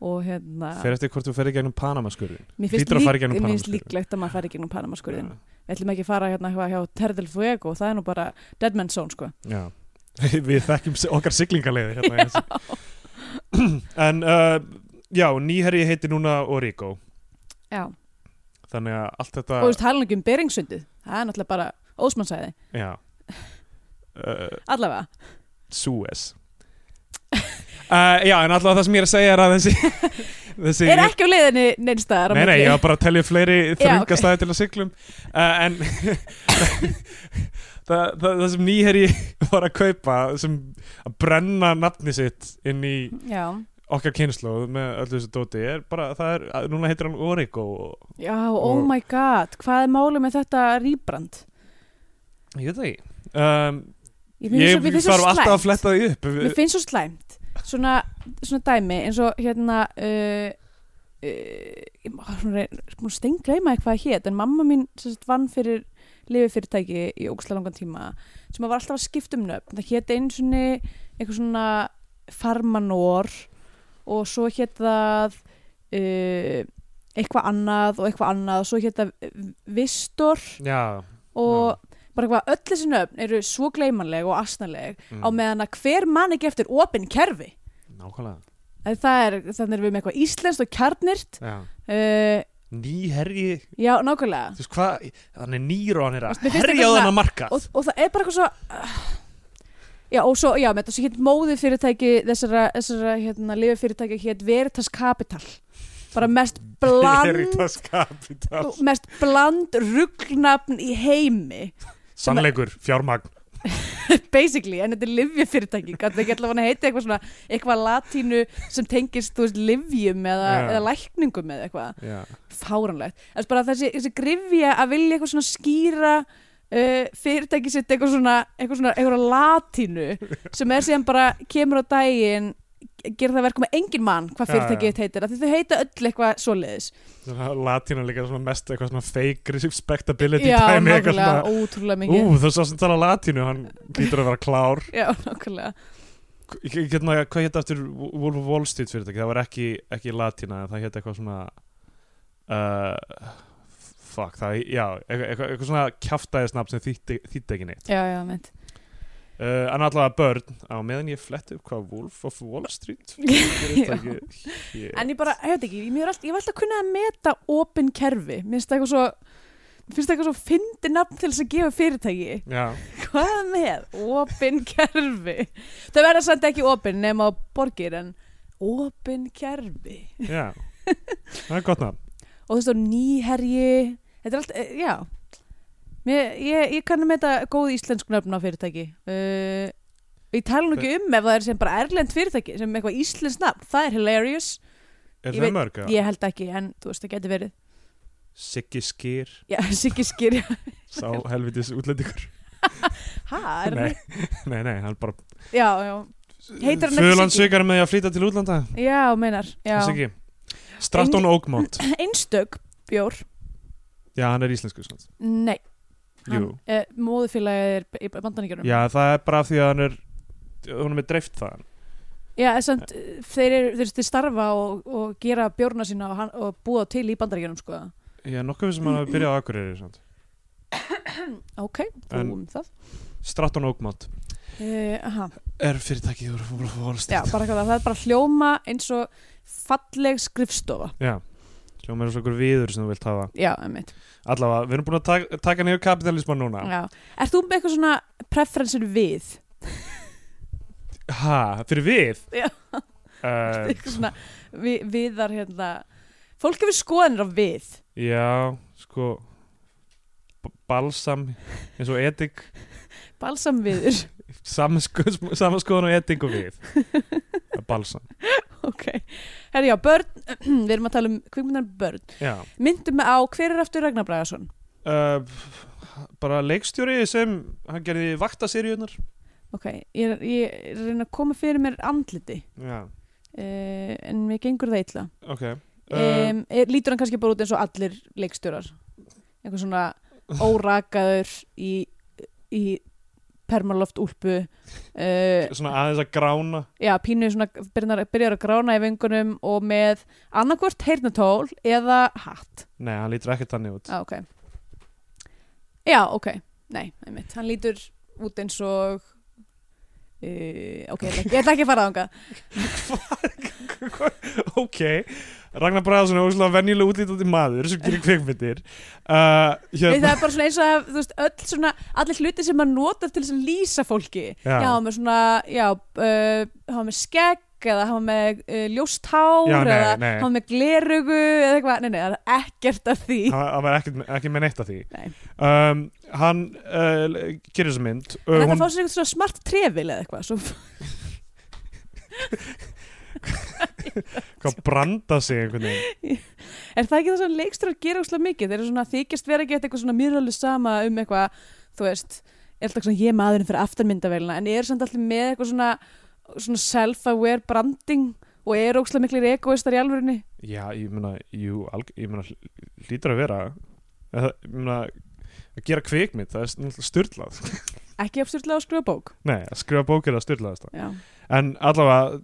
og hérna fer eftir hvort þú ferði gegnum Panamaskurðin mér hlýtur að fara í gegnum mér finnst Panama-skurðinn. líklegt að maður fari í gegnum Panamaskurðin við ætlum ekki að fara hérna hjá- hjá Terdel Fuego það er nú bara Dead Man's Zone sko Já, við þekkjum si- okkar siglingaleiði hérna já. En uh, já, nýherji heiti núna Origo já. Þannig að allt og þú þetta veist, talan ekki um Beringsundu það er náttúrulega bara Ósmann sagði já uh, allavega Suez uh, Já, en alltaf það sem ég er að segja er að þessi, þessi er ekki á leiðinni neinstaðar Nei, nei, ég var bara að telja upp fleiri ok. þröngastæði til að syklum uh, En það, það, það sem nýherji var að kaupa sem að brenna nafni sitt inn í já, okkar kynnslóð með öllu þessu dóti er bara, það er, að- núna heitir hann Origo og já, oh my god hvað er málið með þetta rýbrand ég veit það ekki um, ég Ég mér þarf alltaf að slæmt. fletta því upp mér finnst svo slæmt svona, svona dæmi eins og hérna uh, uh, ég má svona stengleima eitthvað að hét en mamma mín sem sagt, vann fyrir lififyrirtæki í ógstlega langan tíma sem var alltaf að skipta um nöfn það hét einu svona eitthvað svona farmanor og svo hét það uh, eitthvað annað og eitthvað annað og svo hét það vistor Já, og bara eitthvað öll þessi nöfn eru svo gleimanleg og asnaleg mm, á meðan að hver man ekki eftir opin kerfi nákvæmlega En það er, þannig erum við með eitthvað íslenskt og kjarnirt já. uh, Nýherji já, nákvæmlega þú veist hvað, hann er nýr og hann er Þú veist, að mér finnst herja á eitthvað þennan svona- markað og, og það er bara eitthvað svo uh, já, og svo, já, með þetta svo hétt móði fyrirtæki þessara, þessara hérna, lifi fyrirtæki hétt Veritas Capital bara mest bland Veritas Capital mest bland ruggnafn í heimi Sannleikur, fjármagn basically, en þetta er livjafyrirtæki kannski ekki alltaf hann að heita eitthvað svona eitthvað latínu sem tengist, þú veist, livjum eða, Já. eða lækningum eða eitthvað Já, fáranlegt Þess bara þessi, þessi grifja að vilja eitthvað svona skýra uh, fyrirtæki sitt eitthvað svona eitthvað svona eitthvað latínu sem er síðan bara kemur á daginn gerir það verkum að engin mann hvað Já, fyrirtækið já. þitt heitir af því þau heita öll eitthvað svoleiðis svona latína líka svona mest eitthvað svona fake respectability já, dæmi, eitthvað nákvæmlega, svona, ótrúlega mikið Ú, það er svo sem tala latínu, hann lítur að vera klár já, nákvæmlega K- ég- hérna, Hvað hétt aftur Wolf of Wall Street fyrirtæki, það var ekki, ekki latína en það hétt eitthvað svona uh, Fuck, það, já eitthvað, eitthvað, eitthvað svona kjaftaðisnafn sem þýtti þýtti ekki neitt já, já, meint Uh, en allavega börn á meðan ég flett upp hvað Wolf of Wall Street fyrirtæki hét. en ég bara, ég veit ekki, ég mér er alltaf, ég var alltaf kunnað að meta opin kerfi, mér finnst það eitthvað svo mér finnst það eitthvað svo fyndi nafn til þess að gefa fyrirtæki já, Hvað með opin kerfi? Þau verða samt ekki opin nema á borgir en opin kerfi. já það er gott nafn Og þú veist og nýherji, þetta er allt, eh, já. Mér, ég, ég kannum þetta góð íslensk nöfn á fyrirtæki. Uh, ég tala nú ekki um ef það er sem bara erlend fyrirtæki sem eitthvað íslensk nafn, það er hilarious. er Ég það veit- mörg? eða? Ég held ekki en þú veist það getur verið. Siggi Skýr, Já, Siggi skýr, sá helvitis útlendingur hæ? er nei, hann- nei, nei, hann bara Já, já, Heitir hann ekki Siggi? Föðlandsvikar með því að flýta til útlanda já, meinar. Já. Siggi Stratton Oakmont, Einstök bjór, já hann er íslensku sant? nei. Jú, uh, móðufélagið er b- í bandaníkjörnum já það er bara af því að hann er hún er með dreift það já en samt, eh, þeir, er, þeir, þeir starfa og, og gera bjórna sína og, hann- og búa til í bandaríkjörnum sko. ég er nokkuð sem hann hafi byrjað á Akureyri sant? ok, þú En- um það Stratton Oakmont uh, aha, er fyrirtækið úr Wolf of Wall já, Street bara, eitthvað, það er bara hljóma eins og falleg skrifstofa Já, hljóma er svo okkur viður sem þú vilt hafa já, einmitt Allavega, við erum búin að taka, taka niður kapitalisman núna já. er þú með eitthvað svona preferensir við Ha, fyrir við? Já. Eh, Eitthvað svona, við, viðar hérna fólk hefur skoðanir á við já, sko b- Balsam eins og etik balsam viður, Samaskoðan sko, og etik og við Balsam ok herri já, börn, við erum að tala um kvikmyndar börn, Já myndum á hver er aftur Ragnar Bragason uh, Bara leikstjóri sem hann gerði vaktaseríunar Ok, ég, er- ég er að reyna að koma fyrir mér andliti Já, uh, en mér gengur það illa ok uh, um, er, Lítur hann kannski bara út eins og allir leikstjórar einhver svona órakaður í, í permaloft úlpu uh, Svona aðeins að grána Já, pínu svona byrjar, byrjar að grána í vingunum og með annarkvort heyrnatól eða hatt Nei, hann lítur ekkert þannig út ah, ok. Já, ok, nei, einmitt Hann lítur út eins og eh, uh, Ok, ég ætla ekki- ég ætla ekki að fara þangað Ok Ragnar Bræðarsson er óslega venjulega útlítandi maður sem gerir kveikmyndir uh, Nei, það hérna, er bara svona eins og að, þú veist, öll svona, allir hluti sem maður notar til þess að lýsa fólki Já. já með svona, já, uh, hafa með skegg eða hafa með uh, ljóst hár Já, nei, eða nei. hafa með glerugu eða eitthvað, nei, nei, það er ekkert af því hann hann var ekki, ekki með neitt af því Nei. um, Hann uh, gerir þessa mynd Það uh, er að hún, fá sér eitthvað svona smart trefil eða eitthvað svo, hvað branda sig einhvern veginn Er það ekki það sem leikstrar gera úrslega mikið? Þeir eru svona að þykjast vera ekki eitthvað svona mér er alveg sama um eitthvað, þú veist, er alltaf svona ég er maðurinn fyrir aftanmyndavélina en eru samt allir með eitthvað svona, svona self-aware branding og eru úrslega miklir egoistar í alvörinni? Já, ég meina, jú, alg, ég meina hl- hlýtur að vera Eða, ég meina, að gera kveikmynd það er náttúrulega styrlað Ekki absurdlega að skrifa bók. Nei, að skrifa bókir að styrlað þetta Já. en allavega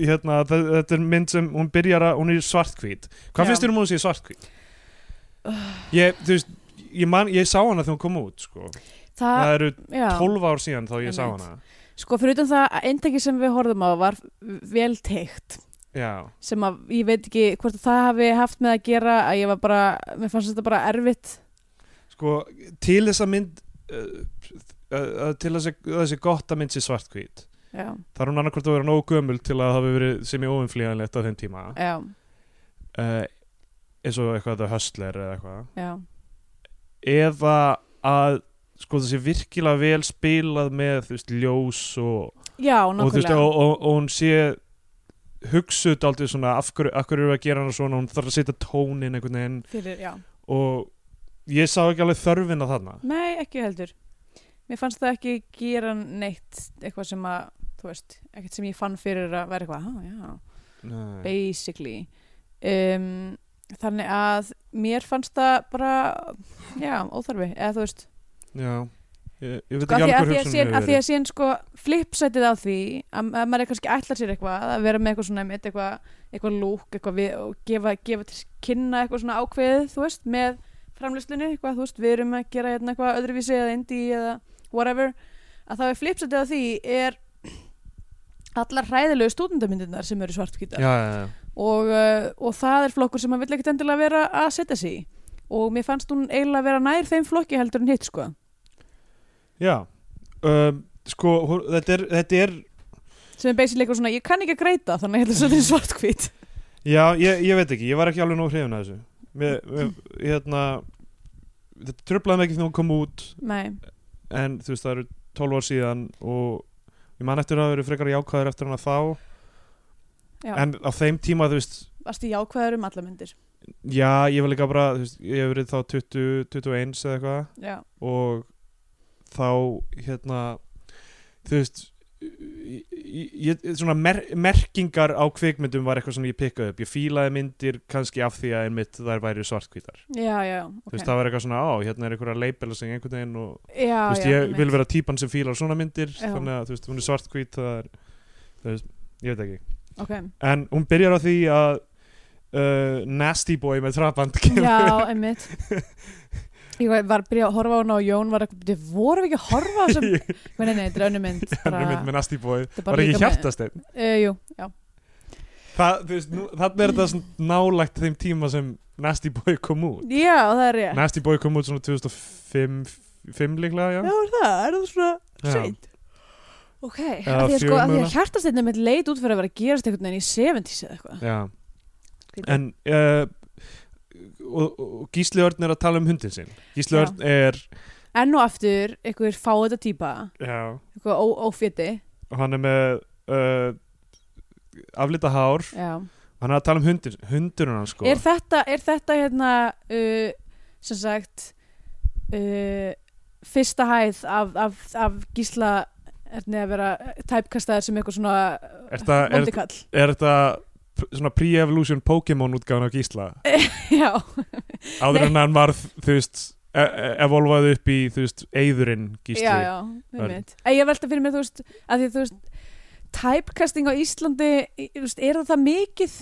hérna, þe- þetta er mynd sem hún byrjar að, hún er svartkvít hvað Já. finnst þér um að hún sé svartkvít? ég, þú veist ég, man, ég sá hana þegar hún kom út sko. það Það, eru Ah, já. 12 ár síðan þá ég sá Einmitt. hana Sko, fyrir utan það að eintæki sem við horfðum á var vel teikt já, sem að ég veit ekki hvort að það hafi haft með að gera að ég var bara, mér fannst þetta bara erfitt. sko til þess að mynd uh, uh, til þess að þessi gott að mynd sé svartkvít Já, það er hún annarkvort að vera nógu gömul til að það hafi verið sem ég óumflýjanlegt á þeim tíma já, uh, eins og eitthvað The Hustler eða eitthvað já. eða að sko það sé virkilega vel spilað með þú veist ljós og, Já, og þú veist nákvæmlega. og, og, og hún sé hugsuð daldið svona af hverju, af hverju er að gera hana svona hún þarf að setja tónin einhvern veginn Fyrir, já. og ég sá ekki alveg þörfin að þarna Nei, ekki heldur. Mér fannst það ekki gera neitt eitthvað sem að, þú veist, ekkert sem ég fann fyrir að vera eitthvað, "Ah, já, Nei. basically. Um, þannig að mér fannst það bara, já, óþarfi, eða þú veist, já ég, ég veit sko, ekki að, að, alveg hver því að, hugsun síðan, hefur að því verið að síðan sko flipsætið á því að, að maður er kannski ætlar sér eitthvað að vera með eitthvað svona einmitt, eitthvað, eitthvað lúk eitthvað við, og gefa, gefa til kynna eitthvað svona ákveðið þú veist með framlýslunni eitthvað þú veist við erum að gera hérna eitthvað öðruvísi eða indi eða whatever að þá er flipsætið á því er allar hræðilegu stúdendamyndirnar sem eru svartkvítar já, já, já. og, uh, og það er flokkur sem maður vill ekkert endilega vera að setja sig í og mér fannst hún eiginlega vera nær þeim flokki heldur en hitt sko já. Um, sko hún- þetta er, þetta er sem er basically eitthvað svona, ég kann ekki að greita þannig að þetta er svartkvít já ég, ég veit ekki ég var ekki alveg nóg hrifin að þessu mér, mér, hérna þetta tröflaði mig ekki þegar hún kom út Nei, en þú veist það eru 12 ár síðan og ég man eftir að það eru frekar jákvæður eftir hana þá Já. en á þeim tíma þú veist varstu jákvæður um alla myndir já ég var líka bara þú veist, ég hef verið þá 20, 21 eða eitthvað Já, og þá hérna þú veist ég, ég, svona mer merkingar á kvikmyndum var eitthvað sem ég pikkaði upp ég fílaði myndir kannski af því að einmitt þær væri svartkvítar já, já, þú ok veist það var eitthvað svona á hérna er einhverja leibela sem einhvern veginn og já, þú veist, já, ég einmitt. vil vera típan sem fílar svona myndir Já. þannig að þú veist, hún er svartkvít það er, þú veist, ég veit ekki Ok, en hún byrjar á því að uh, Nasty Boy með traband kemur já, einmitt Ég var var að byrja að horfa á hana og Jón var eitthvað, "Þið vorum við ekki að horfa á þessum Nei, nei, nei, þetta er önnur mynd hann er mynd með Nasty Boy þetta er bara var ekki líka með- hjartasteinn uh, Jú, já, það, þú veist, nú, þannig er þetta svona nálægt þeim tíma sem Nasty Boy kom út já, það er ég Nasty Boy kom út svona 2005 5 líklega, já, Já, er það, er það svona Já. seint Ok, Eða af því að sko, af fjögur því að mögulega. hjartasteinn er mitt leit út fyrir að vera að gerast einhvern veginn í 70s eða eitthvað já. Skrítið. en uh, og, og Gísli Örn er að tala um hundin sinn Gísli Já. Örn er enn og aftur einhver fá þetta típa já, eitthvað ó- óféti og hann er með uh, aflita hár já. hann er að tala um hundir, hundurinn hans sko er þetta, er þetta hérna uh, sem sagt uh, fyrsta hæð af, af, af gísla erni að vera tæpkastaðar sem eitthvað svona Er þetta- er- vondikall er þetta p- svona pre-evolution Pokémon útgáðan á Gísla já, áður en hann varð þú veist e- e- evolvaði upp í þú veist eyðurinn Gísli já, já Örn. einmitt. En ég velta fyrir mér þú veist að því þú veist tæpkasting á Íslandi í- þú veist, er það það mikið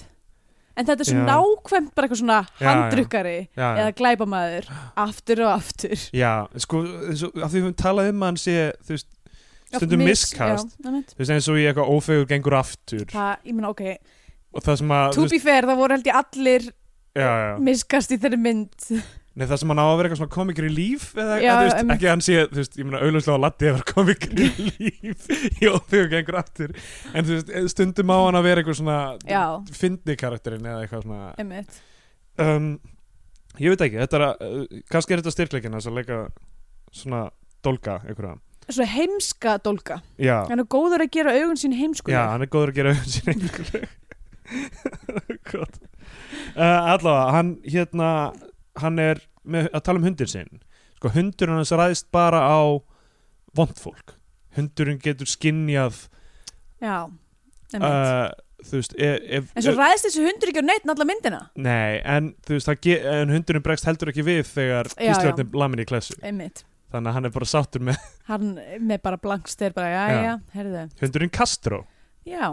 en þetta er svo Já. nákvæmt bara eitthvað svona Já, já. handrukkari já, já. eða glæpamaður aftur og aftur já sko eins og- af því við höfum talað um að hann sé þú veist stundum Oft mis- miskast já, einmitt. þú veist eins og í eitthvað ófegur gengur aftur það, ég meina ok og það sem að to þú be fair, það voru held ég allir já, já. miskast í þeirri mynd Nei, það sem hann á að vera eitthvað svona komikir í líf eða, Já, að, þú veist, einmitt. ekki að hann sé, þú veist, ég meina auðvitað að Latti að vera komikir í líf í óþjóðu gengur aftur en þú veist, stundum á hann að vera eitthvað svona Já, fyndi karakterinn eða eitthvað svona einmitt um, ég veit ekki, þetta er að uh, kannski er þetta styrkleikina þess að leika svona dólka einhverja Svo heimska dólka já, Hann er góður að gera augun sín heimskuleg já, hann er góður að gera auðvitað sín einhverju gott uh, allavega, hann hérna hann er með, að tala um hundir sinn sko, hundurinn hans ræðist bara á vond fólk hundurinn getur skinjað Já, einmitt uh, þú veist ef, ef, En svo ræðist þessi hundur ekki á neitt allar myndina Nei, en þú veist, það ge- en hundurinn bregst heldur ekki við þegar Já, já. Ísland er lamin í klessu Einmitt þannig að hann er bara sáttur með Hann með bara blankster bara, já, Já. já, herðu hundurinn Castro Já,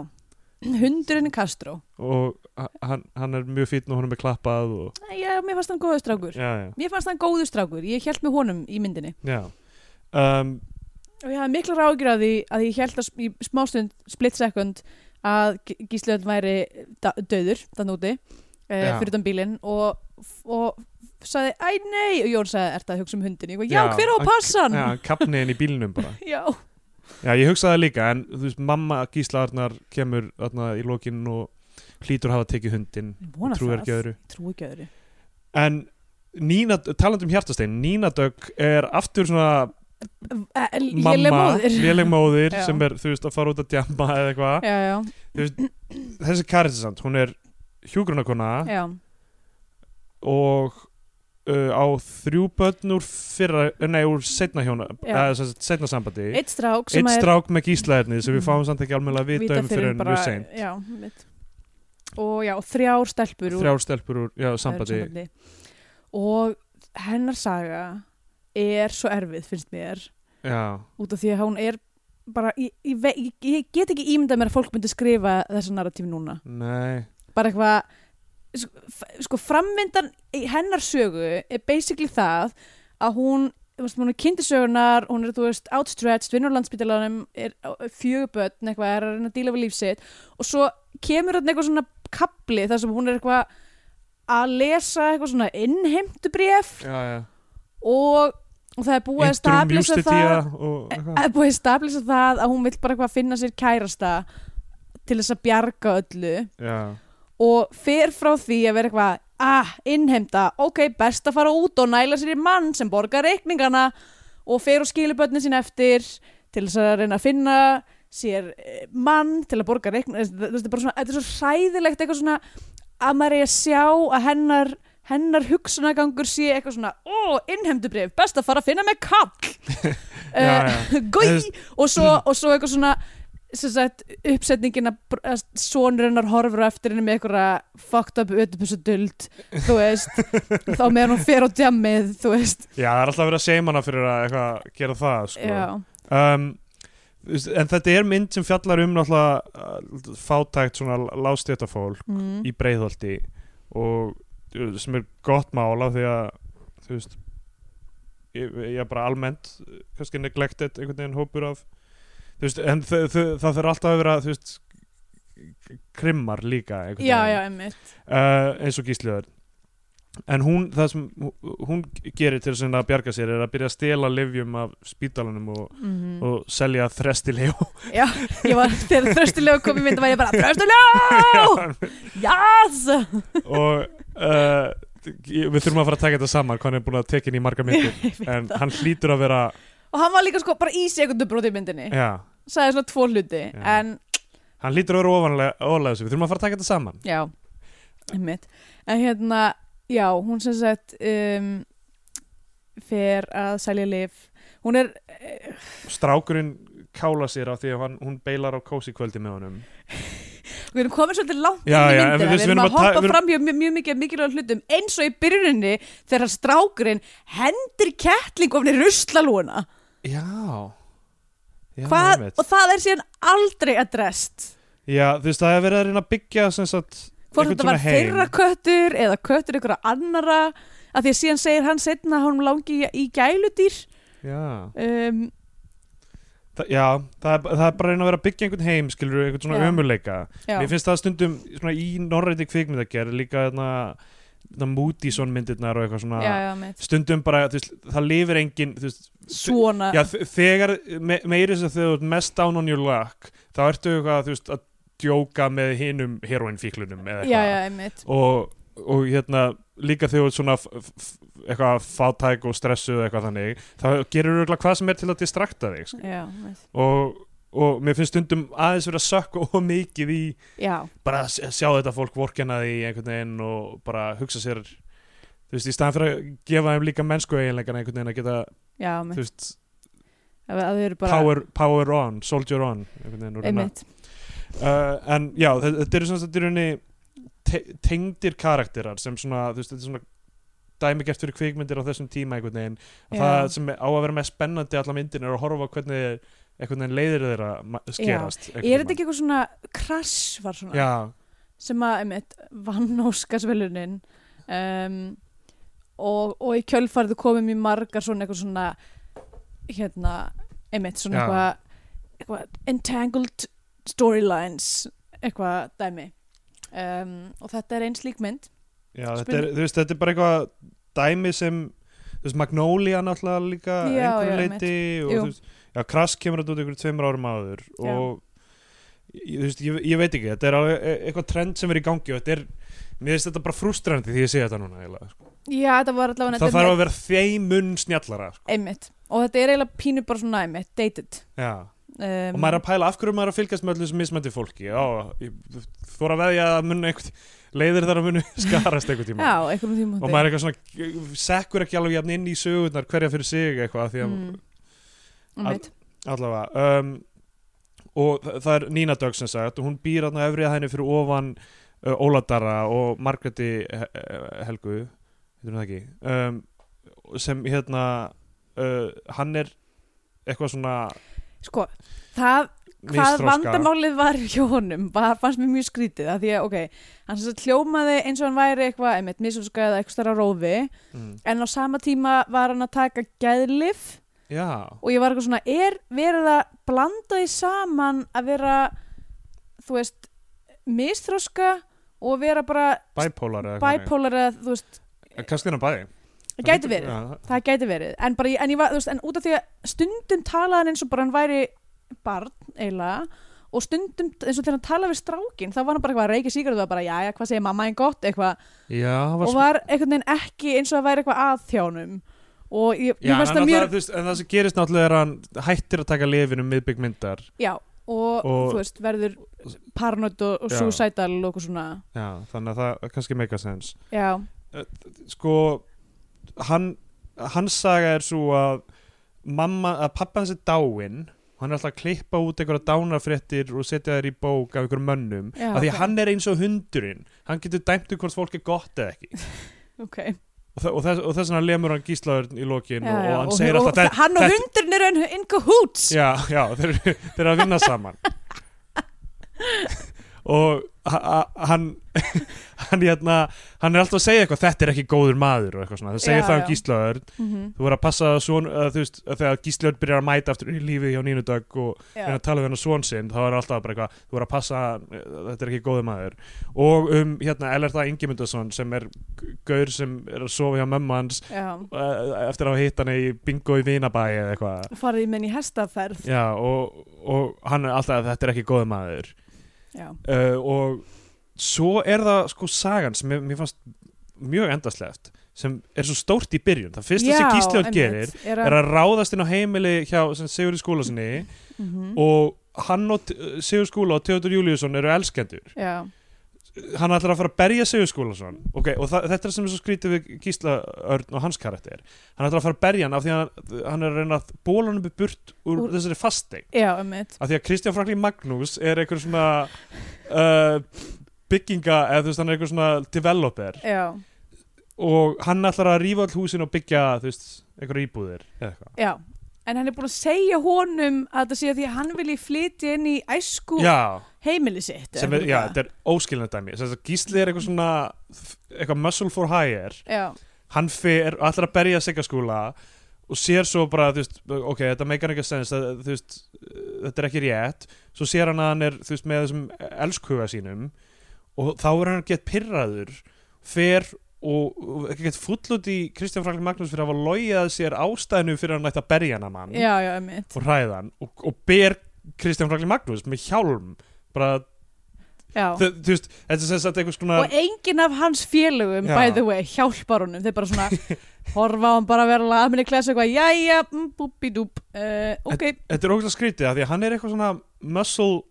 hundurinn er Castro og h- hann, hann er mjög fýtn og honum er klappað og, Já, mér fannst hann góður strákur já, já, Mér fannst hann góður strákur, ég held með honum í myndinni já. Um, og ég hafði mikla ráðgjur að því að ég held að sp- í smástund, split second að G- Gísli Öll væri da- dauður, þann úti uh, Já. fyrir utan bílinn og, og sagði, æ nei, og Jón sagði, ert að hugsa um hundin ég, var, já, Já, hver á hann- að passa hann? já, hann kapni inn í bílnum bara Já, Já, ég hugsaði það líka, en þú veist, mamma Gísla Arnar kemur þarna í lokin og hlýtur að hafa tekið hundin ég vona trúir það. ekki öðru Trúi ekki öðru. En Nína, talandi um hjartastein, Nína Dögg er aftur svona Eh, eh, Léleg mamma, móðir. léleg móðir Já. sem er, þú veist, að fara út að djamba eða eitthvað Já, já, Þú veist, þessi karinsamt, hún er hjúgrunarkona já, og uh, á þrjú börn úr fyrra, nei, úr setna hjóna Já. eða sem sagt seinna sambandi eitt strák sem eitt er Mm. strák með gíslaðirni sem við fáum samt ekki alveg að vita fyrr um fyrir en en mjög seint Já, mitt Og já, og þrjár stelpur úr þrjár stelpur úr já, sambandi sambandi. og hennar saga er svo erfið finnst mér já, út af því að hún er bara, ég, ég, ve- ég, ég get ekki ímyndað mér að fólk myndi skrifa þessa narratífi núna nei, bara eitthvað sko, f- sko frammyndan í hennar sögu er basically það að hún þú veist, hún er kindisögunar, hún er, þú veist, outstretched, vinnur á landspítalanum, er fjögubötn, eitthvað, er að reyna að díla við líf sitt og svo kemur þarna eitthvað svona kapli þar sem hún er eitthvað að lesa eitthvað svona innheimtubréf já, já og, og það er búið að Interim stablisa það E, justitia og eitthvað. að búið að stablisa það að hún vill bara eitthvað finna sér kærasta til þess að bjarga öllu já, og fer frá því að vera eitthvað ah, innheimta, ok, best að fara út og næla sér í mann sem borgar reikningana og fer og skilur börnin sín eftir til þess að reyna að finna sér eh, mann til að borga reikningana þetta er bara svona, þetta er svo hræðilegt eitthvað svona að maður er að sjá að hennar hennar hugsunagangur sé eitthvað svona ó, innheimtubrif, best að fara að finna með kall Eh, já, já. gói og svo, mm. og svo eitthvað svona sem sagt, uppsetningin að br- að sonur hennar horfur á eftir henni með eitthvað fucked up ötupussu duld þú veist, þá meðan hún fer á djamið, þú veist já, það er alltaf verið að seima hana fyrir að eitthvað, gera það sko. já, um, þú veist, en þetta er mynd sem fjallar um náttúrulega uh, fátækt svona lástjötafólk mm. í breiðholti og uh, sem er gott mála því að þú veist ég, ég er bara almennt uh, kannski neglected einhvern veginn hópur af þú veist, en þau- þau- það þarf alltaf að vera þú veist krimmar líka einhvern já, veginn já, emmitt uh, eins og gísliðar en hún, það sem hú- hún gerir til þess að bjarga sér er að byrja að stela livjum af spítalanum og, Mhm. og selja þrestileg já, ég var, þegar þröstulega kom í mynd var ég bara, þröstulega yes, og uh, við þurfum að fara að taka þetta saman hvað hann er búin að tekja inn í marga myndir en hann hlýtur að vera og hann var líka sko bara í sekundubróti í myndinni já, sagði svona tvo hluti, Já. en hann hlýtur að vera ofanlega ólega þessu, við þurfum að fara að taka þetta saman Já, einmitt En hérna, já, hún sem sagt um, fer að selja lif Hún er, eh, strákurinn kála sér á því að hann, hún beilar á kósi kvöldi með honum við erum komin svolítið langt Já, inn í já, en myndina við- Við við erum að erum að ta- hoppa við erum- fram hjá mjög, mjög mikið mikilvæg hlutum eins og í byrjuninni þegar strákurinn hendir kettling ofni ruslalúna já, já Hvað, einmitt. og það er síðan aldrei adrest já, þú veist, það er verið að reyna að byggja sem sagt, Hvort einhvern þetta var svona heim. þeirra köttur eða köttur ykkur annara að því að síðan segir hann setna að hún langi í, í gæludýr já, um, það, já, það, er- það er bara að reyna að vera að byggja einhvern heim skilur, einhvern svona Já. ömurleika já, mér finnst það stundum svona, í norræti kvikmyndagerð líka þarna Moodyson myndirnar og eitthvað svona já, já, mitt stundum bara, þú veist, það lifir engin þú veist, svona, Já, þ- þegar me, meiri sem þegar þú ert mest down on your luck þá ertu eitthvað, þú veist, að djóka með hinum heroinfíklunum eða já, eitthvað já, mitt Og, og hérna líka þegar þú ert svona f- f- eitthvað fátæk og stressuð eða eitthvað þannig þá gerir þú hvað sem er til að distrakta þig sko. já, mitt, og, og mér finnst stundum aðeins verið að sökka og mikið í já, bara að s- sjá þetta fólk vorkenna því einhvern veginn og bara hugsa sér þú veist, í staðan fyrir að gefa þeim líka mennsku eiginlegan einhvern veginn að geta, já, mitt þú veist, að að þau eru bara, power, power on, soldier on einhvern veginn úr hennar. einmitt uh, en já, þe- þetta eru svona þetta eru henni te tengdir karakterar sem svona, þú veist, þetta er svona dæmigert fyrir kvikmyndir á þessum tíma einhvern veginn Já. að það sem á að vera mest spennandi allar myndin er að horfa á hvernig einhvern veginn leiðir þeirra ma- skerast er þetta ekki eitthvað svona krass var svona Já, sem að einmitt vann Óskarsvelunin um, og, og í kjölfarið komum í margar svona eitthvað svona hérna, einmitt svona Já. eitthvað, eitthvað entangled storylines eitthvað dæmi um, og þetta er einn slík mynd já þetta, er, Spennandi. þú veist, þetta er bara eitthvað dæmi sem þú veist, Magnolia náttúrulega líka Já, já, einhverju einmitt. leiti og Jú. þú veist, já, Krass kemur þetta út einhverju tveimur árum áður Já. og ég, þú veist, ég, ég veit ekki, þetta er alveg e- eitthvað trend sem er í gangi og þetta er mér finnst þetta bara frustrandi því ég sé þetta núna eiginlega, sko. já, þetta var allavega það þetta þarf er að vera þeimun snjallara sko. með- einmitt og þetta er eiginlega pínu bara svona einmitt, dated já. um, og maður er að pæla af hverju maður er að fylgjast með öllu þessu mismændi fólki já, ég fór að veðja að mun einhvern leiðir þar að munu skarast einhvern tíma já, einhverjum tíma og maður er eitthvað svona sekkur ekki alveg jafn inn í sögurnar hverja fyrir sig eitthvað því að Mm. einmitt, allavega um, og þa- það er Nína Dögg sem sagt og hún býr þarna öfrið hæðinni fyrir ofan uh, Óladara og Margréti He- eh, Helgu heitir hún það ekki um, sem hérna uh, hann er eitthvað svona sko, það hvað misþroska. vandamálið var hjá honum var, fannst mér mjög skrítið að því að ok, hann sem sagt hljómaði eins og hann væri eitthvað, einmitt, misjónska eða eitthvað stara rófi mm. en á sama tíma var hann að taka gæðlif já, og ég var eitthvað svona, er verið að blanda því saman að vera þú veist misþróska og vera bara bipolar eða eitthvað bipolar eða þú veist, þannig. Eh, kannski hann bæði það gæti verið já, það gæti verið, en bara, ég- en ég var, þú veist, en út af því að stundum talaði hann eins og bara hann væri barn, eiginlega og stundum, eins og þegar hann talaði við strákin þá var hann bara eitthvað að reykja sígaret og var bara, jæja, hvað segir mamma einn gott, eitthvað, já, hann var og var einhvern veginn ekki eins og það væri eitthvað að þjánum og ég, ég Já, en, veist það náttúrulega, mjög, þú veist, en það sem gerist náttúrulega er að hann hættir að taka lifin um miðbyggmyndar já, og, Og- þú veist, verður paranoid og, og Já. suicidal og eitthvað svona, Já, þannig að það kannski make a sense já, Sko, hann hans saga er svo að mamma, að pappa hans er dáinn hann er alltaf að klippa út einhverja dánarfréttir og setja þær í bók af einhverjum mönnum Já, af því ok. að hann er eins og hundurinn hann getur dæmt um hvort fólk er gott eða ekki ok og, þa- og, þess, og þess vegna lemur hann gíslaður í lokin já, og, já, og hann segir alltaf og, "Þetta- hann og þetta- hundurinn eru in, in cahoots Já, já, þeir, þeir eru að vinna saman og ha- ha- hann hann, hérna, hann er alltaf að segja eitthvað þetta er ekki góður maður og eitthvað svona það segir Já, það um já. gíslaður Mhm, þú voru að passa að son, að, þú veist, að þegar gíslaður byrjar að mæta aftur í lífið hjá Nínudag og já, reyna að tala við hann á son sinn þá er alltaf bara eitthvað, þú voru að passa að þetta er ekki góður maður og um hérna Ellerta Ingemyndason sem er g- gaur sem er að sofa hjá mömmu hans já, eh, eftir að hafa hitt hann í bingo í Vinabæi eða eitthvað farið í menn í hestaferð Já, og, og hann er alltaf að þetta er ekki góð maður já, uh, og svo er það sko sagan sem mér, mér fannst mjög endasleft sem er svo stórt í byrjun það fyrsta sem Gísljóð gerir er að ráðast inn á heimili hjá sem Sigurður Skúlasinni Mhm. og hann og T- uh, Sigurður Skúla og Theodor Júliusson eru elskendur já, hann ætlar að fara að berja Sigur Skúlason okay, og það, þetta er sem er svo skrítið við Gísla Örn og hans karakter hann ætlar að fara að berja hann af því að hann, hann er að reyna að bóla hann upp í burt úr, Úr- þessari fasteig já, einmitt að því að Kristján Franklin Magnús er einhver svona uh, bygginga eða þú veist hann er einhver svona developer já, og hann ætlar að rífa all húsin og byggja þú veist einhver íbúðir eða eitthvað já en hann er búin að segja honum að þetta sé að því að hann vilji flytja inn í æsku Já, heimili sitt sem er, já, þetta er óskilnað dæmi sem þess að Gísli er eitthvað svona eitthvað muscle for hire, já, hann fer ætlar að berja Sigga skúla og sér svo bara, þú veist, ok, þetta meikar ekki sens, það, þú veist, þetta er ekki rétt svo sér hann að hann er, þú veist, með þessum elskuga sínum og þá er hann gett pirraður fer og, og gett full út í Kristján Franklin Magnús fyrir að hafa logið sér ástæðinu fyrir að hann ætti að berja hann að mann já, já, einmitt og hræða hann og, og ber Kristján Franklin Magnús með hjálm bara, já. þú þú veist, þetta er sem sagt einhvers konar og enginn af hans félögum, Já. by the way, hjálpar honum þeir bara svona horfa á hann bara að vera alveg aðminni klesa eitthvað, jæja, mm, búbidúb uh, ok, þetta er ógæslega skrítið af því að hann er eitthvað svona muscle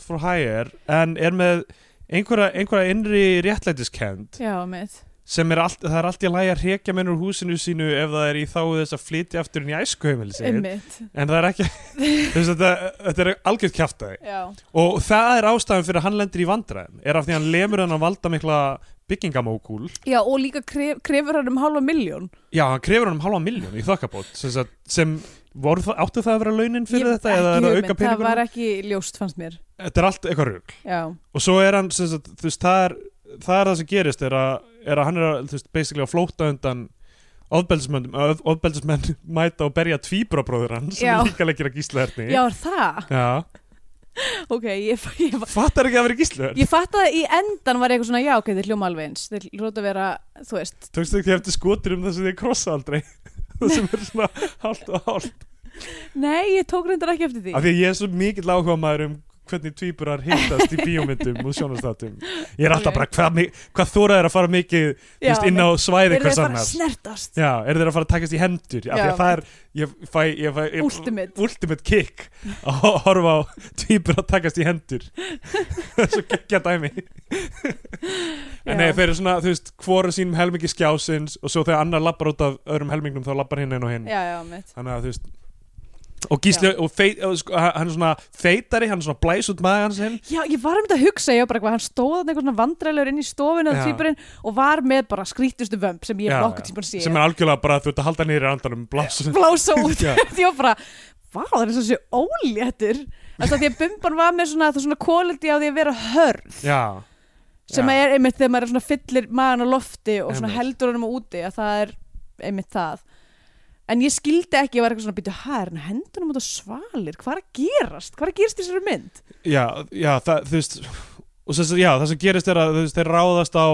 for hire en er með einhverja, einhverja innri réttlætiskend já, einmitt sem er allt, það er allt í lagi að hrekja menn úr húsinu sínu ef það er í þáu þess að flytja aftur inn í æskuheimili sitt einmitt, en það er ekki, þú veist þetta, þetta er algjörð kjaftaði já, og það er ástæðan fyrir að hann lendir í vandræðum er af því að hann lemur hann að valda mikla byggingamókúl já, og líka kref, krefur hann um halva miljón já, hann krefur hann um halva miljón í þokkabót sem, sagt- sem voru, það- áttu það að vera launin fyrir Ég- þetta ekki eða er það hugmynd, auka það var e- peningur ekki ljóst fannst mér þetta er allt eitthvað rugg já, og svo er hann sem sagt, þú veist, það, er, það er það sem gerist er að, er að hann er að, þú veist, basically að flóta undan ofbeldismönnum of, ofbeldismenn mæta og berja tvíbrabróður hans sem Já. er líka leikir að gísla herni já, er það Já. ok, ég, ég, fattar ekki að vera gísla herni ég fatt að í endan var ég eitthvað svona, já, ok, þeir hljóma alveg eins þeir hljóta að vera, þú veist tókstu ekki eftir skotir um það sem þið krossa aldrei það sem er svona hálft og hálft nei, ég tók reyndar ekki eftir því af því að ég er svo mikill áhuga maður um hvernig tvíburar hittast í bíómyndum og sjónastatum ég er alltaf Ok. bara hvað, mi- hvað þóra er að fara mikið þú veist, inn á svæði þeir hvers bara að annars snertast Já, eru þeir að fara að takast í hendur af því Já. að það er, ég fæ, ég fæ ég, Ultimate. ultimate kick að ho- horfa á týpur að takast í hendur svo geggja dæmi Já. en nei, þeir eru svona, þú veist, hvora sínum helmingi skjásins og svo þegar annar lappar út af öðrum helmingnum þá lappar hinn inn og hinn já, já, mitt þannig að þú veist og gísli, og feit, og sko, hann er svona feitari, hann er svona blæs út maður hans hinn já, ég var um þetta að hugsa, ég var bara eitthvað hann stóð þarna eitthvað svona vandræðilegur inn í stofinu Já. og tvíburinn og var með bara skrítustu vömb sem ég Já, nokkuð já. tíma sé sem er algjörlega bara, þú veist, að halda niður í andanum blása blása út Já. því var bara, vá, það er eins og sé óléttur þess að því að bumban var með svona, það er svona quality á því að vera hörð Já, sem Já. er einmitt þegar maður er svona fyllir maðan á lofti og svona Einmitt. heldur honum úti að það er einmitt það en ég skildi ekki, ég var eitthvað svona býtu hæðir en hendur honum út á svalir, hvað er að gerast hvað er að gerast í þessari mynd Já, já, það, þú veist og þess, já, það sem gerist er að þú veist, þeir ráðast á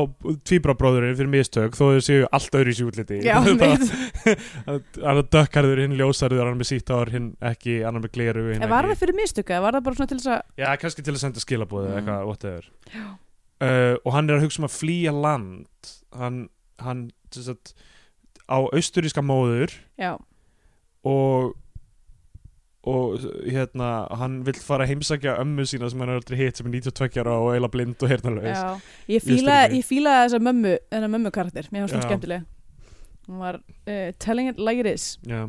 tvíbrabróðurinn fyrir mistök þó þau séu allt öðru í sjúkliti já, einmitt. hann er dökkarður, hinn ljósarður hann er með sítt ár, hinn ekki, annar með gleru hinn en var ekki. það fyrir mistuka, eða var það bara svona til þess að Já, kannski til að senda skilabóð Mm. eða eitthvað, whatever uh, og hann er að hugsa um að flýja land hann, hann sem sagt, á austuríska móður já, og og hérna, hann vill fara að heimsækja ömmu sína sem hann er aldrei hitt sem er 92 ára og eila blind og heyrnalaus já. ég skil fílaði ekki. ég fílaði þessa mömmu, þennan mömmu karakter mér fannst hún Já. skemmtileg hún var uh, telling it like it is Já.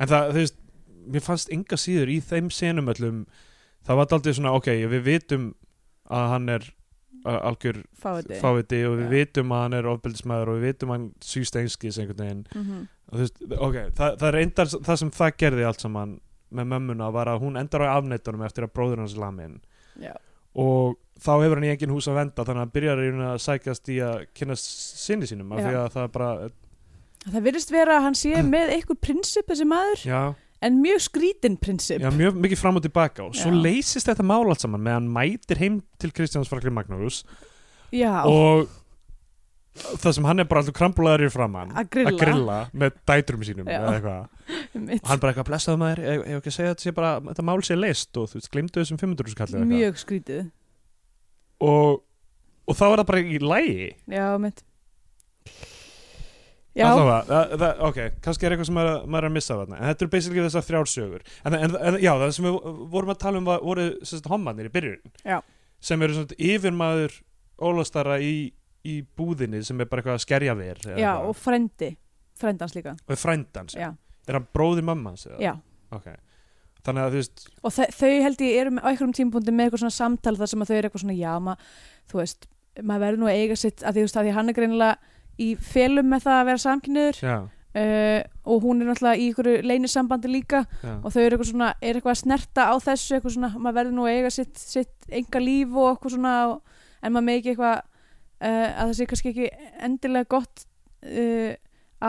En það, þú veist, mér fannst enga síður í þeim senum öllum, það var aldrei svona, ok, við vitum að hann er uh, algjör fáiði fáviti og við Já. vitum að hann er ofbeldismæður og við vitum að hann sýst einskis einhvern veginn. mm -hmm. Og, þú veist, ok, það, það er endar, það sem það gerði allt saman með mömmuna var að hún endar á afneitunum eftir að bróður hans er lamin já, og þá hefur hann í engin hús að venda þannig að hann byrjar í rauninni að sækjast í að kynna sinni sínum af Já. því að það er bara, það virðist vera að hann sé með eitthvað prinsip þessi maður já, en mjög skrítin prinsip Já, mjög mikið fram og tilbaka og svo Já. leysist þetta mál allt saman meðan hann mætir heim til Kristjáns Frakli Magnús já, og það sem hann er bara alltaf krambulaður í framann Að grilla. að grilla með dætrum sínum Já. eða eitthvað einmitt. og hann bara eitthvað blessaðu maður ég hef ekki að segja að þetta sé bara þetta mál sé leist og þú veist glimtu þessum 500 skallið mjög skrítið og, og þá er það bara í lægi já, mitt já, Allavega, það, það, ok, kannski er eitthvað sem maður, maður er að missa af þarna en þetta eru basically þessar þrjársögur en, en, en já, það sem við vorum að tala um var, voru sérst, hommanir í byrjun Já. sem eru svona yfirmaður ólastara í, í búðinni sem er bara eitthvað að skerja ver já og frendi frendans líka og er frændans, já, er hann bróðir mammans eða? já. ok, þannig að þú veist og þe- þau held ég eru með- á einhverjum tímpúndi með eitthvað svona samtal þar sem að þau eru eitthvað svona já, maður, þú veist, maður verður nú að eiga sitt að því, þú veist, að því hann er greinilega í felum með það að vera samkynniður já, uh, og hún er náttúrulega í einhverju leynisambandi líka já, og þau eru eitthvað svona, er eitthvað að snerta á þessu eitthvað svona, maður verður nú að eiga sitt, sitt enga líf og eitthvað svona og, eh, en maður megi ekki eitthvað uh, að það sé kannski ekki endilega gott uh,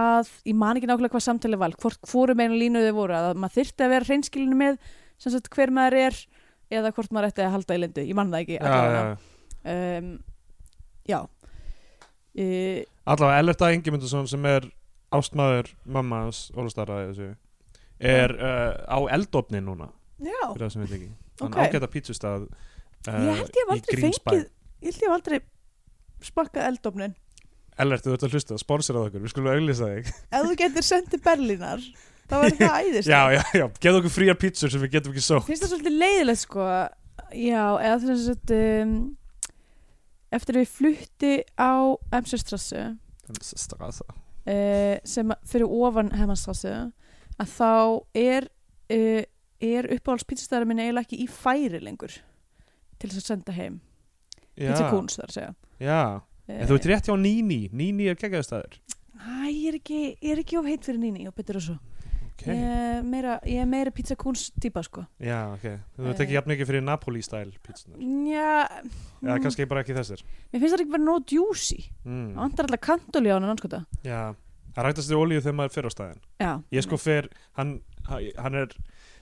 að ég man ekki nákvæmlega hvað samtalið var hvort hvoru meina línu þau voru að maður þyrfti að vera hreinskilinu með sem sagt hver maður er eða hvort maður ætti að halda í lindu ég man það ekki allavega. um, já uh, Allavega, Ellert A. Ingemundsson sem er ástmaður mamma hans Ólastara þessu, er uh, á eldofni núna, já, fyrir það sem við ekki hann Ok. ágæta pítsustað uh, ég held ég hef í aldrei Grímsbæ. fengið ég held ég hef aldrei smakkað eldofnin Ellert, þú ert að hlusta, sponsorað okkur, við skulum auglýsa þig ef þú getur sendt til Berlínar þá var það æðist Já, já, já, geða okkur fríar pítsur sem við getum ekki sótt finnst það svolítið leiðilegt sko já, eða þess að um, eftir að við flutti á Emsjörstrassu Strasa uh, sem að- fyrir ofan Hemmanstrassu að þá er uh, er uppáhalds pítsastæðar minn eiginlega ekki í færi lengur til þess að senda heim pizzakúns þar að segja Eh, Já, en þú ert rétt hjá Níni Níni er geggjaðstæður Æ, ég er ekki, ég er ekki of heitt fyrir nýni og betur og svo okay. ég, er meira, ég er meira pizzakúns típa sko Já, ok, þú ert ekki Eh. jafn mikið fyrir Napoli-stæl pítsunar Já, Já, Mm. kannski bara ekki þessir mér finnst það ekki verið nóg djúsi mm. Það vantar alltaf kantoli á hann anskota Já, það ræktast í olíu þegar maður fyrir á stæðin Já, Ég sko fer, hann, hann er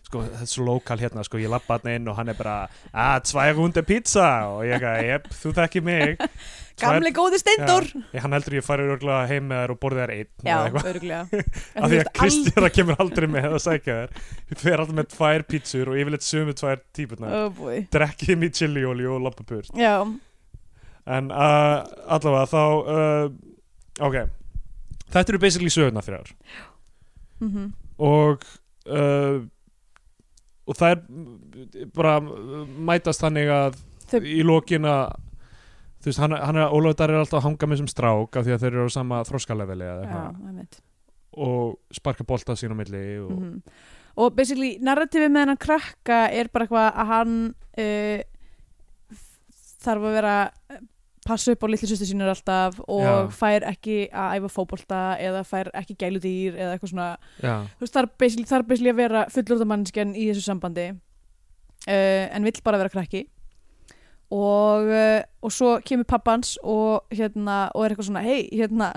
sko, þetta er svo lokal hérna, sko, ég lappa hann inn og hann er bara, að, tvæja hunde pizza og ég eitthvað, jep, þú þekki mig Tvær- Gamli góði Steindór Ég, Hann heldur ég farið örgulega heim með þær og borðið þær einn Já, eða eitthvað. örglega Af því að Kristjana kemur aldrei með að sækja þær Ég fer alltaf með tvær pítsur og yfirleitt sömu tvær típurnar Oh boy drekki mig chiliolíu og lappa burt Já, en uh, allavega þá uh, ok þetta eru basically sögurnar fyrir þar mhm og uh, og það er bara uh, mætast þannig að Þau- í lokin að þú veist, hann, hann er, Ólafur Darri er alltaf að hanga með sem strák af því að þeir eru á sama þróskaleveli eða Já, eitthvað einmitt og sparka bolta sín á milli og, mm og basically narratífið með hennan krakka er bara eitthvað að hann uh, þarf að vera eh, passa upp á litlu sýstu sínur alltaf og Já. fær ekki að æfa fótbolta eða fær ekki gæludýr eða eitthvað svona já, þú veist, þarf basically, þarf basically að vera fullurða mannskjan í þessu sambandi uh, en vill bara vera krakki og, uh, og svo kemur pappans og, hérna, og er eitthvað svona hei, hérna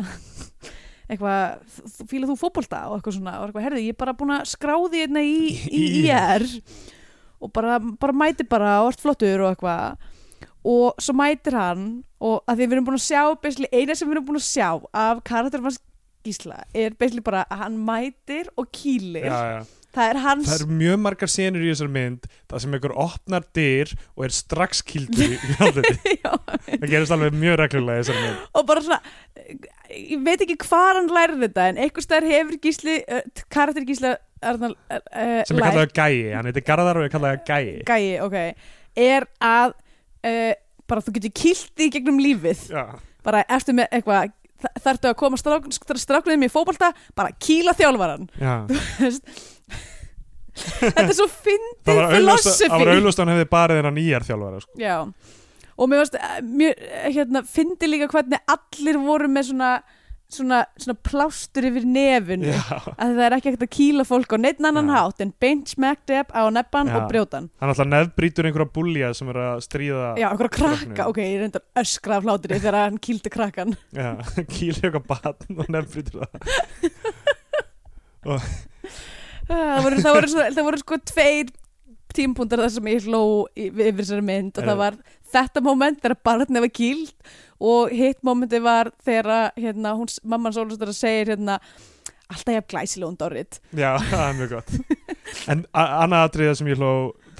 eitthvað, þú- fílar þú fótbolta og eitthvað svona, og er eitthvað, herði, ég er bara búin að skráði hérna í, í Í- IR og bara, bara mæti bara og allt flottur og eitthvað og svo mætir hann og að því við erum búin að sjá basically, eina sem við erum búin að sjá af karakterfanns Gísla er basically bara að hann mætir og kýlir já, já. það er hans Það eru mjög margar senur í þessar mynd það sem einhver opnar dyr og er strax kildur í andliti Já, Það gerist alveg mjög reglulega í þessari mynd. og bara svona ég veit ekki hvað hann lærði þetta en einhvers staðar hefur Gísli uh, karakter Gísla Arnal, uh, Sem er kallaður gæi, hann heitir Garðar og er kallaður gæi. gæi ok, er að uh, bara þú getur kýlt því gegnum lífið Já, bara ertu með eitthvað þa- þarftu að koma strák, stráknum í fótbolta bara kýla þjálfaran já. Þú veist. þetta er svo Það fyndið var auðlust, það var philosophy auðlust að hann hefði barið hennan nýjar þjálfara, sko. Já, og mér varst eh, mér, eh, hérna, fyndi líka hvernig allir voru með svona, svona, svona plástur yfir nefun Já. að það er ekki hægt að kýla fólk á neitt annan Já. hátt en beint smekkti upp á neppan Já. og brjótan Hann alltaf nefnbrýtur einhverja búlja sem er að stríða, Já, okkur að krakka, Krakkanum. ok, ég reyndar öskra af hlátri þegar hann kýldi krakkan já, kýlir eitthvað batn og nefnbrýtur það. Ah, Það voru, það voru, svona, það voru sko tveir tímpúndar þar sem ég hló í- yfir þessari mynd og Er- það var þetta moment þegar barnið var kýld og hitt momenti var þegar að, hérna, hún, mamman Sólustur segir hérna, alltaf ég hef glæsilegum Dorrit Já, það er mjög gott. En a- annað atriða sem ég hló,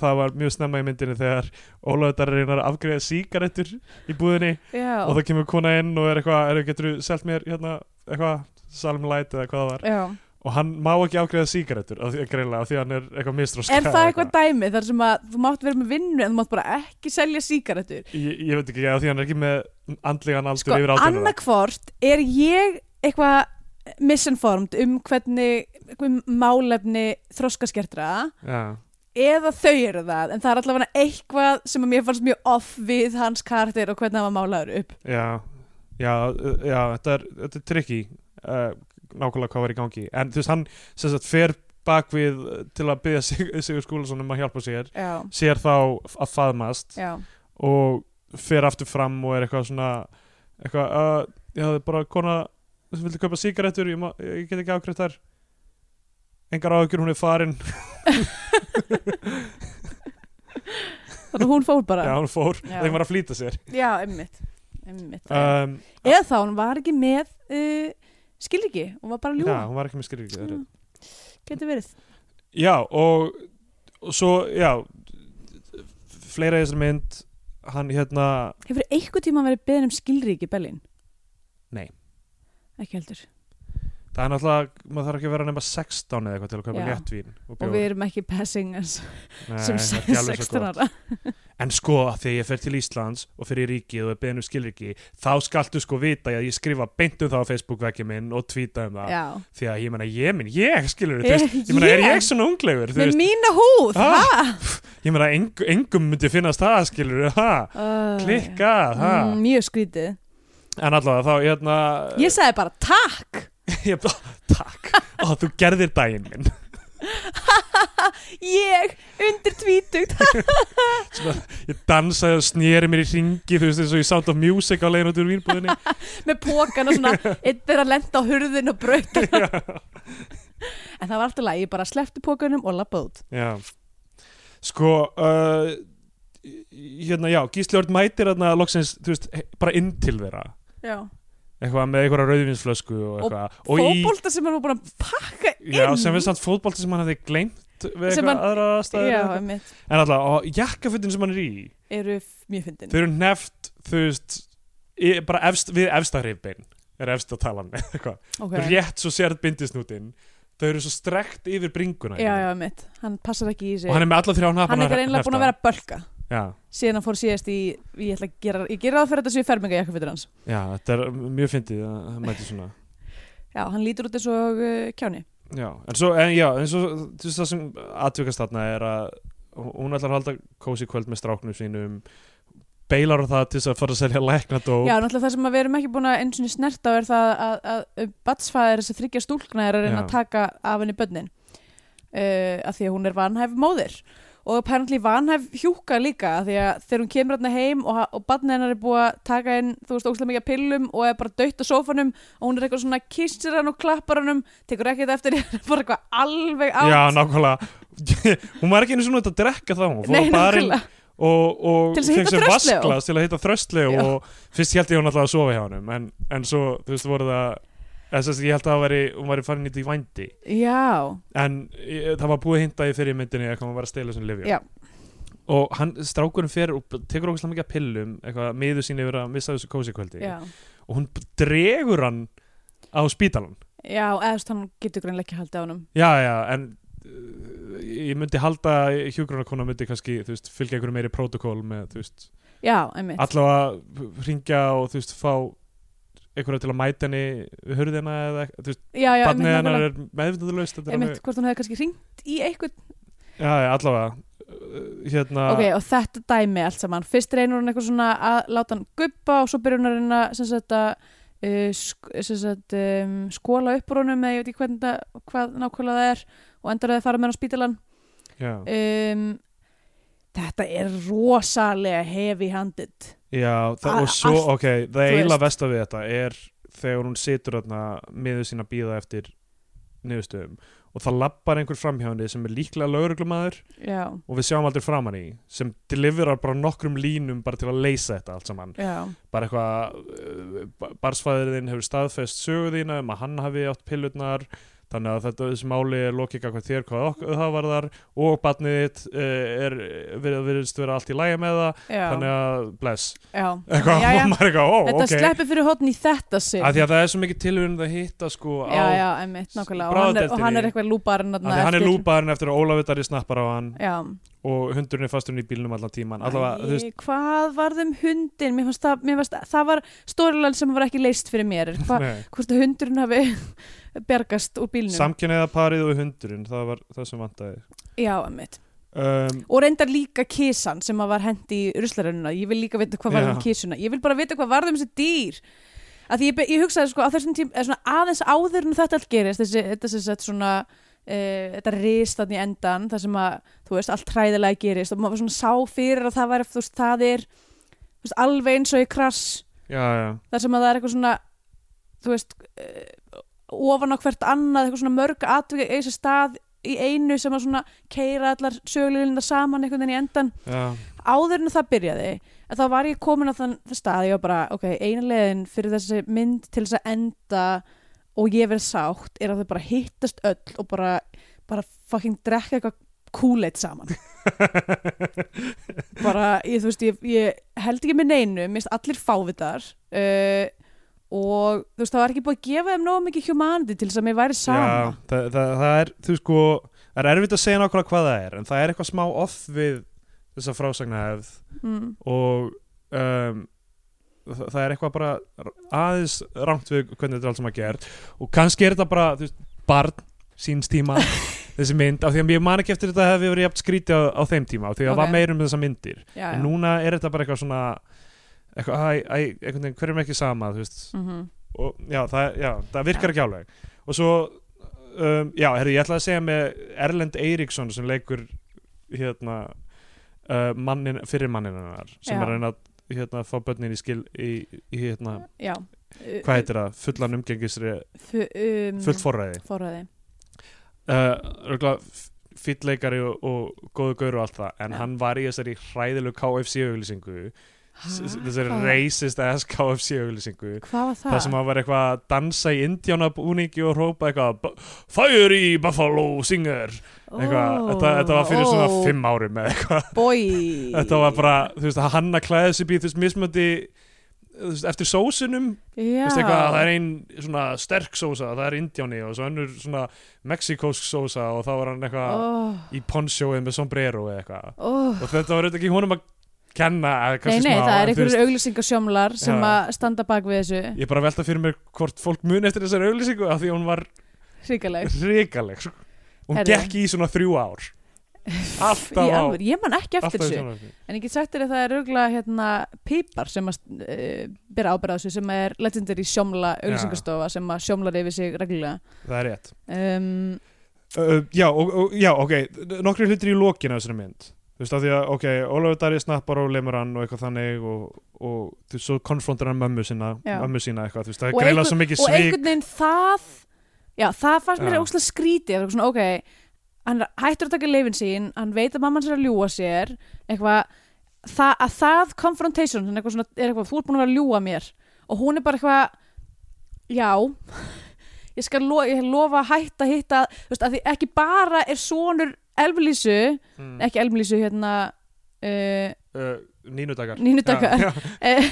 það var mjög snemma í myndinni þegar Ólaður Darri reynar að afgreða sígarettur í búðinni Já, og það kemur kona inn og er eitthvað, er, getur þú selt mér hérna, eitthvað, Salm Light eða hvað það var já. og hann má ekki ágreða sígarettur af því, greinlega, af því að hann er eitthvað mistróska Er það eitthvað dæmi þar sem að þú mátt vera með vinnu en þú mátt bara ekki selja sígarettur ég, ég veit ekki, af því að hann er ekki með andlegan aldur Sko, yfir átjörða annarkvort er ég eitthvað misinformed um hvernig um málefni þroskaskertra já, eða þau eru það en það er allavega eitthvað sem að mér fannst mjög off við hans karakter og hvernig hann var málaður upp já, já, uh, já þetta er, þetta er tricky uh, nákvæmlega hvað var í gangi en þú veist, hann sem sagt fer bak við uh, til að byggja sig, Sigur Skúlason um að hjálpa sér Já, sér þá að faðmast já, og fer aftur fram og er eitthvað svona eitthvað, uh, ég hafði bara kona þú viltu kaupa sigarettur ég, má- ég get ekki afgreitt þær engar áhugjur, hún er farin þannig að hún fór bara já, hún fór, Já. þeim var að flýta sér já einmitt, einmitt. um, eða þá hún var ekki með uh, skilriki, hún var bara já, ljúga hún var ekki með skilriki já. getur verið já, og, og svo, já fleira í þessari mynd hann hérna, hefur einhver tíma verið beðin um skilriki Berlín? Nei. ekki heldur það er náttúrulega maður þarf ekki að vera nema 16 eða eitthvað til að kaupa Já. léttvín og, og við erum ekki passing as Nei, sem það er ekki alveg 16 svo gott. ára En sko, þegar ég fer til Íslands og fer í ríkið og er beðin um skilriki, þá skaltu sko vita að ég skrifa beint um það á Facebook vekki minn og tvíta um það. já. Því að ég meina, ég minn, ég skilur, þú Ég- veist, ég meina, er ég? ég svona unglegur, þú með veist, mína húð Ha? ha? ég meina, eng, engum myndi finnast það, skilur, ha, Uh, klikkað, ha. mm, mjög skrítið En allavega þá, hérna, ég sagði bara takk ég, takk, ó, þú gerðir daginn minn. ég undir tvítugt Svona, ég dansaði og snýri mér í ringi, þú veist, eins og ég sátt á music á leiðin út úr vínbúðinni. með pókan og svona einn þeirra lenda á hurðin og braut en það var alltaf læg, ég bara sleppti pókanum og lappa út Já Sko uh, hérna, já, Gísli Örn mætir hérna loksins, þú veist, he- bara inn til þeirra já. eitthvað með einhverja rauðvinsflösku og eitthvað og, fótbolta sem hann var búin að pakka inn já, sem við samt fótbolti sem hann hefði gleymt við Sem eitthvað hann- aðra aðstæður Já, eða eitthvað. einmitt. en alltaf, og jakkafutin sem hann er í eru f- mjög fyndin þau eru neft, þú veist í, bara efst, við efsta hreifbein er efst að tala með, eitthvað okay. rétt svo sérð bindisnútin þau eru svo strekt yfir bringuna já, já, mitt, hann passar ekki í sig og hann er með alla þrjá hnapana hann er einlega búin að vera að bölka já, síðan hann fór síðast í ég, ætla að gera, ég gera það fyrir þetta séu ferminga jakkafutur hans já, þetta er mjög fyndið að hann mæti svona já, hann lítur út eins og uh, kjáni Já, en svo, en já, en svo þú veist það sem atvökast þarna er að hún ætlar að halda kósi kvöld með stráknum sínum beilar á það til þess að fara að selja læknadó já, náttúrulega það sem að við erum ekki búin að eins og snert á er það að, að, að batsfæðir þessi þryggja stúlkna er að reyna Já. að taka af henni bönnin uh, af því að hún er vanhæf móðir og apparently vanhæf hjúka líka af því að þegar hún kemur hérna heim og, og barnið hennar er búið að taka inn þú veist, óslega mikið af pillum og er bara dött á sófanum og hún er eitthvað svona kissir hann og klappar hann tekur ekkert eftir því, bara eitthvað alveg átt Já, nákvæmlega hún var ekki einu svona út að drekka þá hún fór Nei, á barinn nákvæmlega og, og Til þess að fékk hitta sér Þröstleó. vatnsglas til að hitta þröstli Já. og fyrst held ég hún alltaf að sofa hjá honum en, en svo, þú veist, voru það eða þess að ég held að það væri, hún væri farin í því vændi Já, en ég, það var búið hinta í fyrir myndinni eitthvað hann var að stela þessum lifjum Já. og hann, strákurinn fer og tekur okkur mikið af pillum eitthvað miður sín yfir að missa þessu kósi kvöldi já, og hún b- dregur hann á spítalan já, eða þú veist, hann getur greinlega ekki haldið á honum já já en uh, ég myndi halda hjúgrunarkona myndi kannski þú veist, fylgja einhverju meiri protokól með þú veist Já, einmitt allavega ringja og þú veist fá einhverja til að mæta henni við hurðina eða eitthvað, þú veist, já, já, barnið einmitt, hennar nákvæmlega. er meðvindulaust þetta er einmitt, alveg- hvort hún hefði kannski ringt í eitthvað já já allavega uh, hérna ok, og þetta dæmi allt saman fyrst reynur hún eitthvað svona að láta hann guppa og svo byrjur hún að reyna sem sagt að uh, sk sem sagt, um, skóla upp úr honum eða ég veit ekki hvernig það, hvað nákvæmlega það er og endur að það fara með hann á spítalan já. um, þetta er rosalega heavy handed Já, það, A- og svo, allt, ok, það þú eila veist. vest við þetta er þegar hún situr þarna miður sín að býða eftir niðurstöðum og það lappar einhver framhjáni sem er líklega lögreglumæður já, og við sjáum aldrei framan í sem deliverar bara nokkrum línum bara til að leysa þetta allt saman já, bara eitthvað, barsfæðurinn hefur staðfest sögu þína um að hann hafi átt pillutnar þannig að þetta þessi máli er lokið hvað þér hvað ok- það varðar og barnið þitt eh, er, virð- virðist vera allt í lægi með það já, þannig að bless já. eitthvað, Jæja. og maður eitthvað, ó, Þetta ok sleppi fyrir hotn í þetta sig að því að það er svo mikið tilvíðum að hitta sko á, Já, já, einmitt, nákvæmlega Og hann er, og hann er eitthvað lúparinn að því hann er lúpaðurinn eftir að Ólafur Darri snappar á hann Já og hundurinn er fasturinn í bílnum allan tíman allavega, þú veist, Æ, Hvað var þeim hundin? Mér fannst það, mér fannst, það var stórilega sem var ekki leist fyrir mér Hva, nei, Hvort að hundurinn hafi bergast úr bílnum samkynniða parið og hundurinn, það var það sem vantaði Já, einmitt um, Og reyndar líka kísan sem að var hendi í ruslarununa Ég vil líka vita hvað var Já. um kísuna Ég vil bara vita hvað var þeim þessi dýr Að því ég, be- ég hugsaði sko á þessum tím eða svona aðeins áður en þetta allt gerist þessi, þetta sem sett svona uh, þetta rist þannig í endan þar sem að þú veist allt hræðilega gerist og maður svona sá fyrir að það væri þú veist það er þú veist, alveg eins og í krass já, já, þar sem að það er eitthvað svona þú veist eh, ofan á hvert annað eitthvað svona mörg atvika í þessi stað í einu sem að svona keira allar sögulegulindar saman einhvern veginn í endan já, áður en það byrjaði en þá var ég komin á þann þann stað ég var bara, ok, eina leiðin fyrir þessi mynd til þess að enda og ég verið sátt er að þau bara hittast öll og bara, bara fucking drekka eitthvað kúleitt saman bara, ég, þú veist, ég, ég held ekki með neinu, mist allir fávitar uh, og þú veist, það var ekki búið að gefa þeim nóg mikið humanity til þess að mér væri sama já það, það, það er þú sko, það er erfitt að segja nákvæmlega hvað það er en það er eitthvað smá off við þessa frásagnahefð mm, og um, það, það er eitthvað bara aðeins rangt við hvernig þetta er allt sem að gert og kannski er þetta bara þú veist, barn síns tíma þessi mynd, af því að ég man ekki eftir þetta hefði verið jafn skríti á, á þeim tíma, af því að það Ok. var meirum þessar myndir já, já. en núna er þetta bara eitthvað svona eitthvað, æ, æ, einhvern veginn, hverjum ekki sama þú veist, Mhm. og já, það, já, það virkar ekki álega og svo um, já, herri, ég ætla að segja með Erlend Eiríksson sem leikur hérna uh, mannin, fyrir mannin hennar sem Já. er að reyna að hérna, fá börnin í skil í, í hérna, já. hvað heitir það fullan umgengisri, um, fullt forræði forræði uh, röglega fýtleikari og, og góðu gaur og allt það en Já. hann var í þessari hræðilegu KFC auglýsingu s- s- þessari Hvað? racist ass KFC auglýsingu Hvað var það? Það sem að vera eitthvað að dansa í indjánabúningi og hrópa eitthvað "Bu- Fire í Buffalo Singer eitthvað, þetta, þetta var fyrir svona fimm árum eða eitthvað, Bói þetta var bara, þú veist, að hann að klæða sér býð, þú veist, mismöndi þú veist, eftir sósunum, þú Já veist, eitthvað, það er ein svona sterk sósa, það er indjáni og svo önnur svona mexikósk sósa og þá var hann eitthvað oh, í ponchoið með sombrero eða eitthvað oh. og þetta var auðvitað ekki honum að kenna eða Nei, kannski nei, smá, það en er þú veist, einhverjur auglýsingasjómlar sem Já. að standa bak við þessu Ég er bara að velta fyrir mér hvort fólk mun eftir þessari auglýsingu af því að hún var Hrikaleg hrikaleg sko. hún Herðu. gekk í svona þrjú ár Í alltaf á alveg, ég man ekki eftir alltaf í þessu sjónvarpi. En ég get sagt þér að það er auglað hérna pípar sem að uh, byrja ábyrða þessu sem er legendary sjómla auglýsingastofa sem að sjómlar yfir sig reglulega það er rétt um, uh, já, og, og, já, ok, nokkri hlutir í lokin af þessari mynd þú veist af því að, ok, Ólafur Dari snappar og lemur hann og eitthvað þannig og, og þú veist, svo konfrontar hann mömmu sína Já. mömmu sína eitthvað, þú veist, það Og er greila einhver- svo mikið og svik einhvern veginn það já, það fannst mér Já. óslega skrítið það var svona, ok, hann er hættur að taka leifin sín, hann veit að mamman sér að ljúa sér eitthvað, það, að það confrontation, hann er eitthvað svona er eitthvað, þú ert búin að vera að ljúa mér og hún er bara eitthvað já, ég skal lo, ég lofa að hætta að hitta, þú veist, að því ekki bara er sonur Elmlísu mm, ekki Elmlísu, hérna uh, uh, nínudakar Nínudakar. Eh,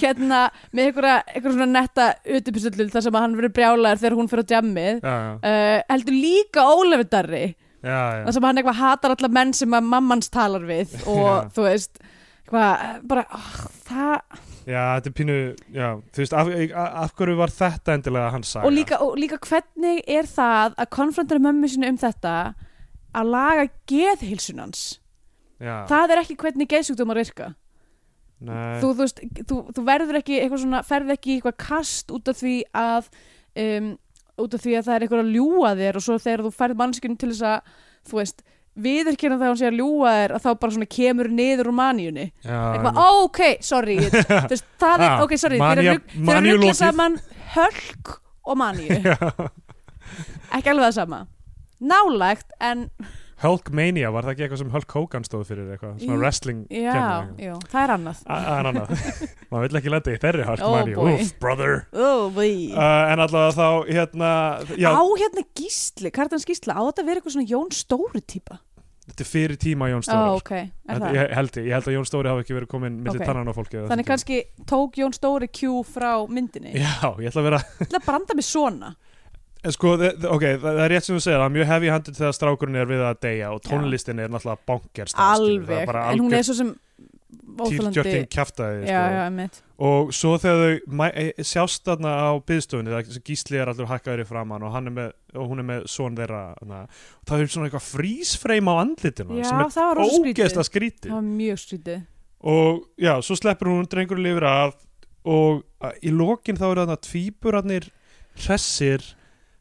hérna með einhverja, einhverja svona netta utipistullu þar sem að hann verður brjálaður þegar hún fyrir á djammið já, já, uh, heldur líka Ólafur Darri já, já. þar sem hann eitthvað hatar alla menn sem að mammans talar við og Já. þú veist eitthvað, eh, bara oh, það já, þetta er pínu já, þú veist, af, af, af hverju var þetta endilega hans saga og líka, og líka hvernig er það að konfrontera mömmu sinni um þetta að laga geðhilsunans já, það er ekki hvernig geðsjúkdómar virka nei, þú, þú, veist, þú, þú verður ekki eitthvað svona, ferð ekki í eitthvað kast út af því að um, út af því að það er eitthvað að ljúa þér og svo þegar þú ferð mannskjörn til þess að þú veist, viðurkenna það að hún sé að ljúa þér að þá bara svona kemur niður úr maníunni já, eitthvað, ó, ok, sorry ég- þú veist, það er, Ah, ok, sorry, manía- þeir eru maníulokið. ruggla saman hölk og maníu Já. ekki alveg það sama nálægt, en Hulkmania, var það ekki eitthvað sem Hulk Hogan stóð fyrir eitthvað, svona Í- wrestling já, kenning? já, það er annað A- En annað, maður vill ekki lenda í þeirri Hulkmania, Oh, boy. úf, brother oh, boy. uh, En allavega þá, hérna já, á hérna gísli, kartans gísla á þetta að vera eitthvað svona Jón Stóri típa þetta er fyrir tíma Jón Ó, Stóri ok, er Þetta- það ég, held, ég- ég held að Jón Stóri hafi ekki verið komin millir Ok. okay. tannan á fólki á þessum Þannig tíma. kannski tók Jón Stóri Q frá myndinni Já, ég ætla að vera Ég ætla að branda mig svona en sko, þe- þe- ok, það, það er rétt sem þú segir það er mjög heavy handed þegar strákurinn er við að deyja og tónlistin er náttúrulega bonkers það Alveg, er bara en hún er algjör sko. svo sem týrtjörkin Óþalandi kjaftaði Já, já, mitt og svo þegar þau mæ- e- sjást þarna á byðstofunni þegar Gísli er allur hakkaður í framann og, hann er með, og hún er með son þeirra þarna. og það er svona eitthvað frísfreim á andlitinu Já, sem það var er rosa skrítið ógeðslega skrítið Það var mjög skrítið og já, svo sleppur hún drengur lifir af og a, í lokin þá eru þarna tvíburarnir hressir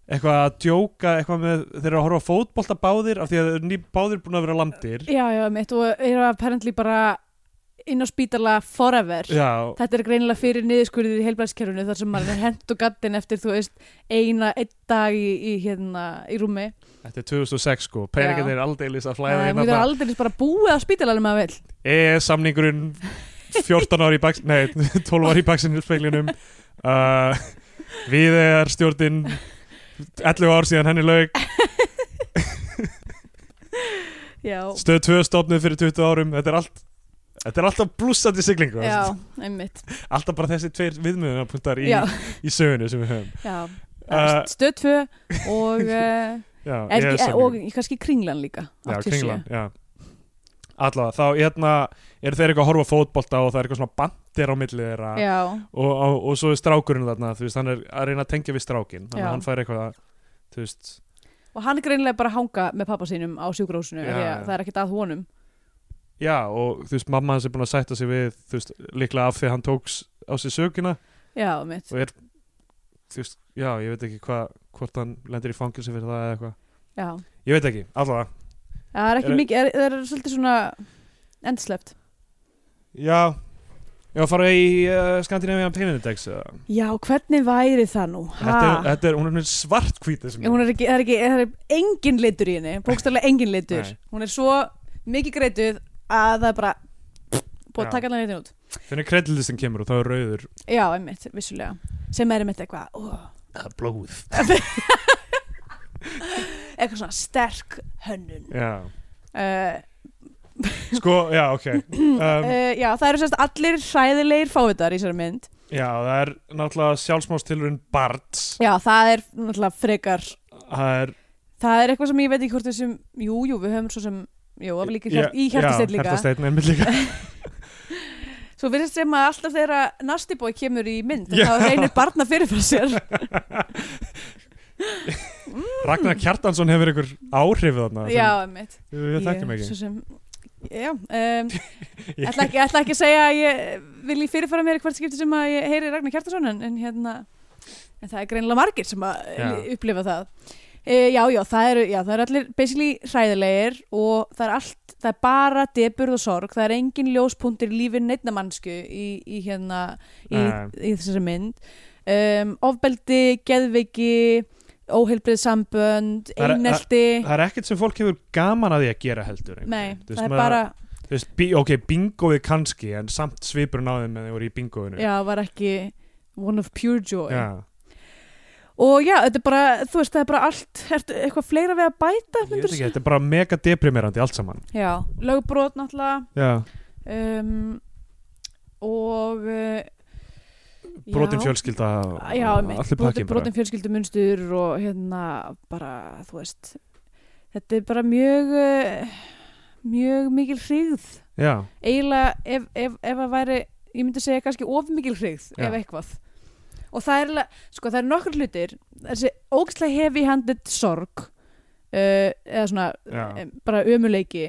eitthvað að djóka eitthvað með þeir eru að horfa á fótbolta báðir af því að þeir eru ný, báðir búin að vera landir Já, já, mitt og eru apparently bara inn á spítala forever já, þetta er greinilega fyrir niðurskurðið í heilbæðskerfinu þar sem maður er hent og gattin eftir þú veist eina, einn dag í, í hérna, í rúmi þetta er 2006 sko peningar Já. þeir aldeilis að flæða það inn mjög þarna. aldrei bara búið á spítalanum að vel e samningurinn 14 ári í baks nei, 12 ári í baksinu speilunum uh, við er stjórnin 11 ár síðan henni laug já, stöð 2 stofnuð fyrir 20 árum þetta er allt Þetta er alltaf blúsandi siglingu já, einmitt Alltaf bara þessi tveir viðmiðunapunktar í, já, í sögunu sem við höfum já Uh, stöð 2 og, uh, Já, er, EES yes, samningurinn. og kannski kringlan líka Já, 87. kringlan, já Allavega, þá hérna eru þeir eitthvað að horfa á fótbolta og það er eitthvað svona bandir á milli þeirra já, og, og, og svo er strákurinn þarna, þú veist, hann er að reyna að tengja við strákinn þannig Já. að hann fær eitthvað að, þú veist, og hann er greinilega bara að hanga með pappa sínum á sjúkrósinu Já, því að já. það er ekkert að honum já og þú veist, mamma hans er búin að sætta sig við, þú veist, líklega af því að hann tóks á sig söguna já, einmitt og er, þú veist, já, ég veit ekki hvað, hvort hann lendir í fangilsi fyrir það eða eitthvað, já. ég veit ekki, allavega það er ekki Er- mikið, er, það er svolítið svona endslept Já, ég var að fara í uh, Skandinavian Penindex eða já, hvernig væri það nú? Þetta er, þetta er, hún er mjög svartkvít þessi mynd. hún er ekki, það er ekki, það er engin litur í henni bókstaflega engin litur Nei. hún er svo mikið greituð að það er bara búið Já. að taka allan litin út Þannig kreditlistin kemur og þá er rauður já, einmitt, vissulega, sem er einmitt eitthvað ó, Blóð eitthvað svona sterk hönnun Já, uh, sko, já, ok um, uh, já, það eru sérst allir hræðilegir fávitar í þessari mynd Já, það er náttúrulega sjálfsmástilurinn Barts já, það er náttúrulega frekar Það er það er eitthvað sem ég veit ekki hvort þessum jú, jú, við höfum svo sem jú, af líka hjart, í hjartasteyt Já, líka hjartasteinn einmitt líka svo við sem að alltaf þegar nastibói kemur í mynd Já. þá reynir barna fyrir fyrir sér Ragnar Kjartansson hefur einhver áhrif þarna sem já, einmitt Við við þekkjum Ég, ekki svo sem, já, um, Ég- ætla, ekki, ætla ekki að segja að ég vil ég fyrirfara mér í hvert skipti sem að ég heyri Ragnar Kjartason en, en hérna en það er greinilega margir sem að Já. já. upplifa það e, já, já, það eru, já, það eru allir basically hræðilegir og það er allt það er bara deburð og sorg það er engin ljóspunktur í lífi neittna mannsku í, í hérna í, Nei. í þessari mynd um, ofbeldi, geðveiki óheilbrið sambönd Það er- einelti Það er ekkert sem fólk hefur gaman að því að gera heldur einhvern Nei, veginn. Þú veist, það er maður- bara þú veist, bí, Ok, bingoið kannski en samt svipurinn á þeim en þeir voru í bingoinu já, var ekki one of pure joy Já. og já, þetta er bara, þú veist, það er bara allt ertu eitthvað fleira við að bæta Ég veit myndir ekki, þetta er bara mega deprimerandi allt saman já, lögbrot náttúrulega Já, um, og uh, brotin já, fjölskylda já, allir allir pakkin brotin, bara brotin fjölskyldumunstur og hérna bara, þú veist þetta er bara mjög uh, mjög mikil hrigð Já, eiginlega ef, ef, ef að væri ég myndi segja kannski of mikil hrigð Já. ef eitthvað og það er, eiginlega- sko, það er nokkur hlutir þessi ógstlega heavy handed sorg uh, eða svona já, um, bara ömuleiki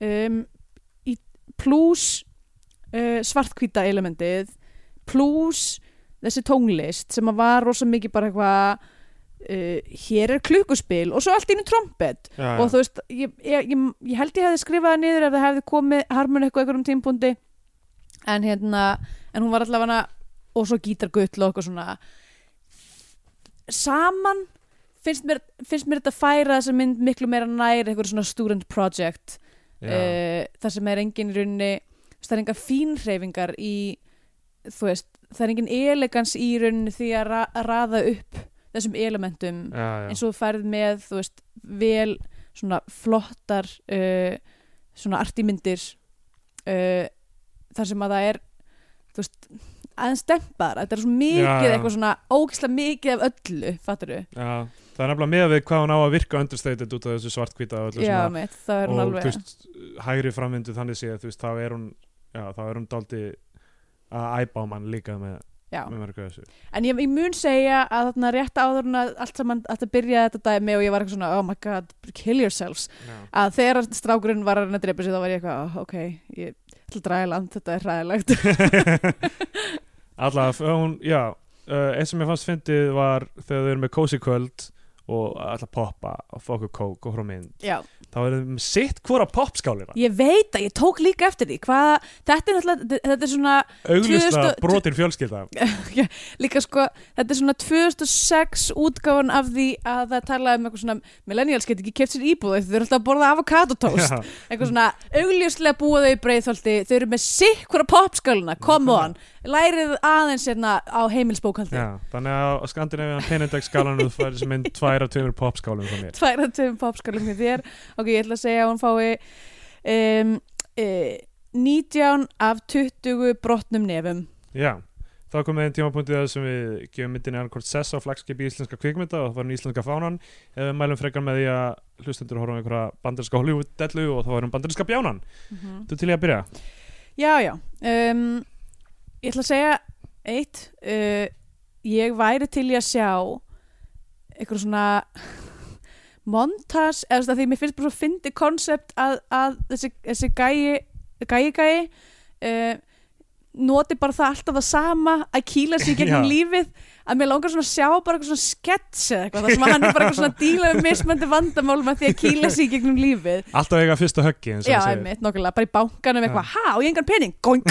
um, í, plus uh, svartkvíta elementið plus þessi tónlist sem að var rosa mikið bara eitthvað uh, hér er klukkuspil og svo allt í einu trompet já, og þú veist, ég, ég, ég, ég held ég hefði skrifað það niður ef það hefði komið harmun eitthvað einhverjum tímpundi en hérna, en hún var allavega og svo gítargull og eitthvað svona saman finnst mér, finnst mér þetta færa þess að mynd miklu meira nær eitthvað svona student project já, uh, þar sem er engin í rauninni þú veist, það er enga fínreifingar í þú veist, það er engin elegans í rauninni því að ra raða upp þessum elementum já, já. eins og þú færð með þú veist, vel svona flottar uh, svona artimyndir uh, þar sem að það er þú veist, aðeins dempaðar þetta er svo mikið Já, já. eitthvað svona ógislega mikið af öllu, fattar við já Það er nefnilega með við hvað hún á að virka understated út af þessu svartkvíta og öllu já, mitt, það er hún og þú alveg veist, hægri framvindu þannig séð, þú veist, þá er hún já, þá er hún daldi að æpa á mann líka með, já. með mörgu þessu en ég, ég mun segja að þarna rétt áður en að allt saman að það byrjaði þetta dæmi og ég var eitthvað svona, oh my god, kill yourselves Já, að þegar strákurinn var að reyna að drepa sig þá var ég eitthvað, "Ah, ok, ég ætla að draga í land þetta er ræðilegt Alla, hún, já uh, eins sem ég fannst fyndið var þegar þau eru með cozy kvöld og ætla að poppa og fá okkur kók og hrómynd já, þá erum við með sitt hvora popskálina ég veit að ég tók líka eftir því hvað, þetta er náttúrulega, þetta er svona auglustlega 2000 brotin fjölskylda líka sko, þetta er svona 2006 útgáfan af því að það talaði um eitthvað svona, millennials get ekki keft sér íbúð þau eru alltaf að borða avokadotoast Já. eitthvað svona, augljóslega búa þau í breiðþólti þau eru með sikkura popskáluna, come on lærið aðeins hérna á heimilsbókaldi Já, þannig að Skandinavian Penindex skalan þú færi sem mynd tvær af tveimur popskálum frá mér tvær að tveim popskálum hjá þér ok, ég ætla að segja að hún fái um, e, 19 af 20 brotnum nefum Já, þá komið einn tímapunktið þar sem við gefum myndinni annarkort sess á flagskipi íslenska kvikmynda og það var hún íslenska fánan eða við mælum frekar með því að hlustendur horfum á einhverja bandarinska Hollywood-dellu og þá varum bandarinska bjánan Mhm. Þú til ég að byrja? Já, já um, Ég ætla að segja eitt uh, Ég væri til í að sjá eitthvað svona montas eða svona því mér finnst bara svo fyndi konsept að, að þessi, þessi gæi gæi gæi uh, noti bara það alltaf það sama að kýla sig í gegnum Já. lífið að mér langar svona að sjá bara eitthvað svona sketch eða eitthvað, það sem að hann er bara eitthvað svona að díla við mismöndi vandamál með því að kýla sig í gegnum lífið Alltaf eiga fyrsta höggi eins og Já, það segir. einmitt, nokkulega, bara í bankanum eitthvað, ha, og ég engan pening, gong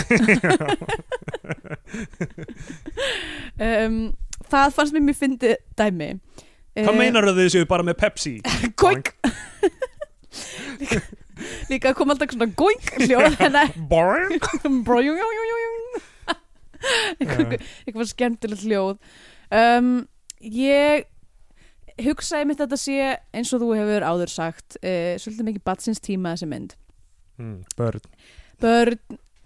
um, Það fannst mér mjög fyndið dæmi Eh, Hvað meinar þau séu bara með Pepsi? Goink líka, líka kom alltaf svona goink hljóð hennar Boring Brojung, jung, jung, jung, jung. Eitthvað- eitthvað skemmtilegt hljóð um, ég hugsaði mitt að þetta sé eins og þú hefur áður sagt uh, svolítið mikið batsins tíma þessi mynd mm, Börn börn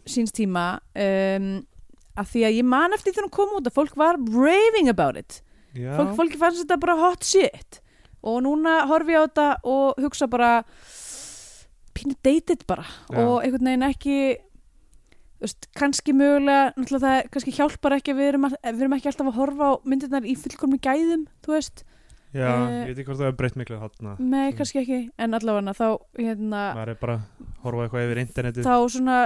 síns tíma um, að því að ég man eftir þegar hún kom út að fólk var raving about it Já, fólk, fólki fannst þetta bara hot shit og núna horfi ég á þetta og hugsa bara pínu dated bara Já. og einhvern veginn ekki þú veist, kannski mögulega náttúrulega það er- kannski hjálpar ekki að við erum, að, við erum ekki alltaf að horfa á myndirnar í fullkomni gæðum þú veist, já eh, ég veit ekki hvort það er breytt miklu hátna með Mm. kannski ekki en allavega þá hérna, Það er bara að horfa eitthvað yfir internetið þá svona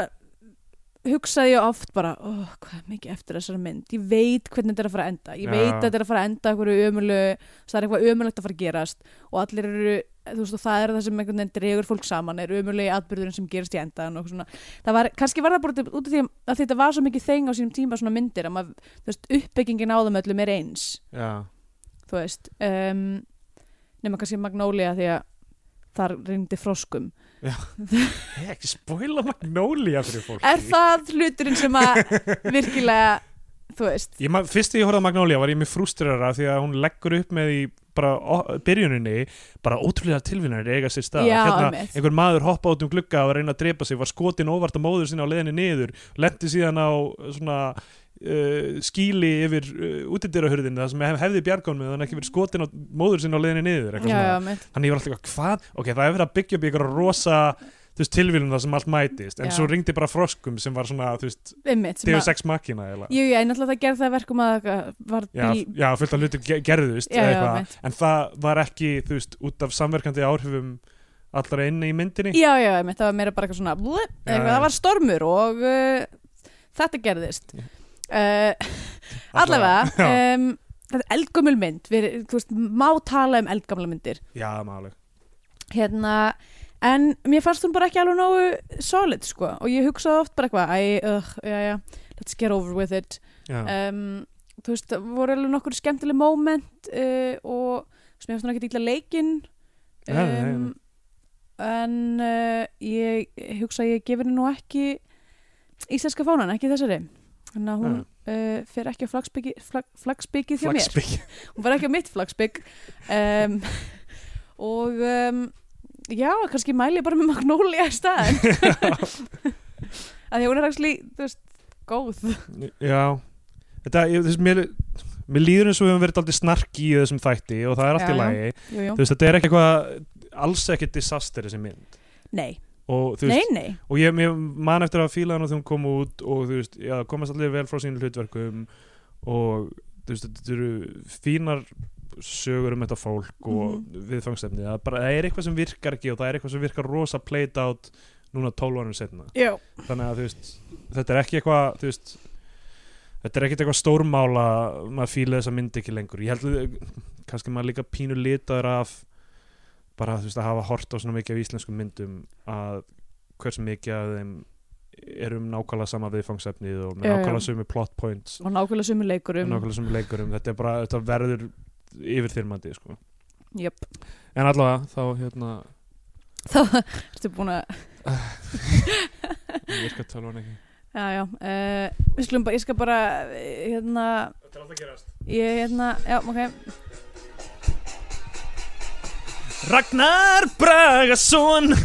hugsaði ég oft bara oh, hvað er mikið eftir þessari mynd ég veit hvernig þetta er að fara að enda ég Já. veit að þetta er að fara að enda einhverju ömulu það er eitthvað ömulegt að fara að gerast og allir eru, þú veist, og það er það sem einhvern veginn dregur fólk saman, er ömulegi atbyrðurinn sem gerast í endan og svona það var, kannski var það bara út af því að þetta var svo mikið þeng á sínum tíma svona myndir að maður, þú veist, uppbyggingin á þeim öllum er eins Já, þú veist um, nema kannski Magnolia því að þar reyndi froskum Ég ekki spoila Magnolia fyrir fólki er það hluturinn sem að virkilega, þú veist Ég, ma- fyrst þegar ég horfði á Magnolia var ég mjög frústrera því að hún leggur upp með í bara o- byrjuninni, bara ótrúlega tilvinnar eiga sér stað, Já, hérna einmitt. einhver maður hoppa út um glugga og reyna að drepa sig var skotin óvart á móður sinna á leiðinni niður lendi síðan á eh, svona uh, skíli yfir uh, útidyrahurðinni þar sem hef, hefði bjargón með hann ekki verið skotin á móður sinna á leiðinni niður já, já, já. mitt, þannig ég var alltaf eitthvað, hvað? Ok, það er verið að byggja upp ykkur rosa, þú veist, tilvílum það sem allt mætist, en Já. svo ringdi bara froskum sem var svona, þú veist, einmitt sem Deus að, Ex Machina eiginlega. jú, já, en alltaf það gerði það að verkum að það var já, bíl já, fullt af hlutum ge- gerðust Já, eða já, eitthvað, einmitt. en það var ekki þú veist, út af samverkandi áhrifum allra inni í myndinni já, já, einmitt, það var meira bara eitthvað svona blip, Já, eitthvað, já. það var stormur og uh, þetta gerðist Já. uh, allavega um, þetta er eldgömmul mynd við, þú veist, má tala um eldgamla myndir já, máli hérna en mér fannst hún bara ekki alveg nógu solid sko og ég hugsaði oft bara eitthvað æ, ugh, já, já, let's get over with it já, um, þú veist, það voru alveg nokkur skemmtileg moment uh, og sem ég fannst hún ekki dýla leikinn Nei, nei, nei. en uh, ég hugsa að ég gefur henni nú ekki íslenska fánan, ekki þessari þannig að hún uh, fer ekki á flagsbyggi, flag, flagsbyggið hjá mér flagspikk hún var ekki á mitt flagsbygg um, og um, já, kannski mæli ég bara með Magnolia í staðin að því að hún er actually, þú veist, góð já, þetta, ég, þess, mér mér líður eins og við höfum verið aldrei snarki í þessum þætti og það er allt Já, í já. lagi jú, jú. þú veist, þetta er ekki eitthvað alls ekki disaster þessi mynd nei, og, þú nei, veist, nei og ég, ég man eftir að fíla hann og þegar hún kom út og þú veist, já, komast allir vel frá sínum hlutverkum og þú veist, þetta eru fínar sögur um þetta fólk og mm viðfangsefni, það, er bara, það er eitthvað sem virkar ekki og það er eitthvað sem virkar rosa played out núna 12 árum setna, já, þannig að þú veist þetta er ekki eitthvað, þú veist þetta er ekkert eitthvað stórmála maður fíla þessa mynd ekki lengur ég held að kannski maður líka pínu litaður af bara þú veist að hafa hort á svona mikið af íslenskum myndum að hversu mikið af þeim er um nákvæmlega sama viðfangsefnið og með Já, Um. já. nákvæmlega sömu plot points og nákvæmlega sömu og leikurum nákvæmlega sömu leikurum þetta er bara, þetta verður yfirþyrmandi sko. Jöp. en allavega þá hérna þá ertu búin að ég skal tala hann ekki já, já, uh, við skulum bara, ég skal bara eh, hérna, Þetta er alltaf gerast ég hérna já, ok, Ragnar Bragason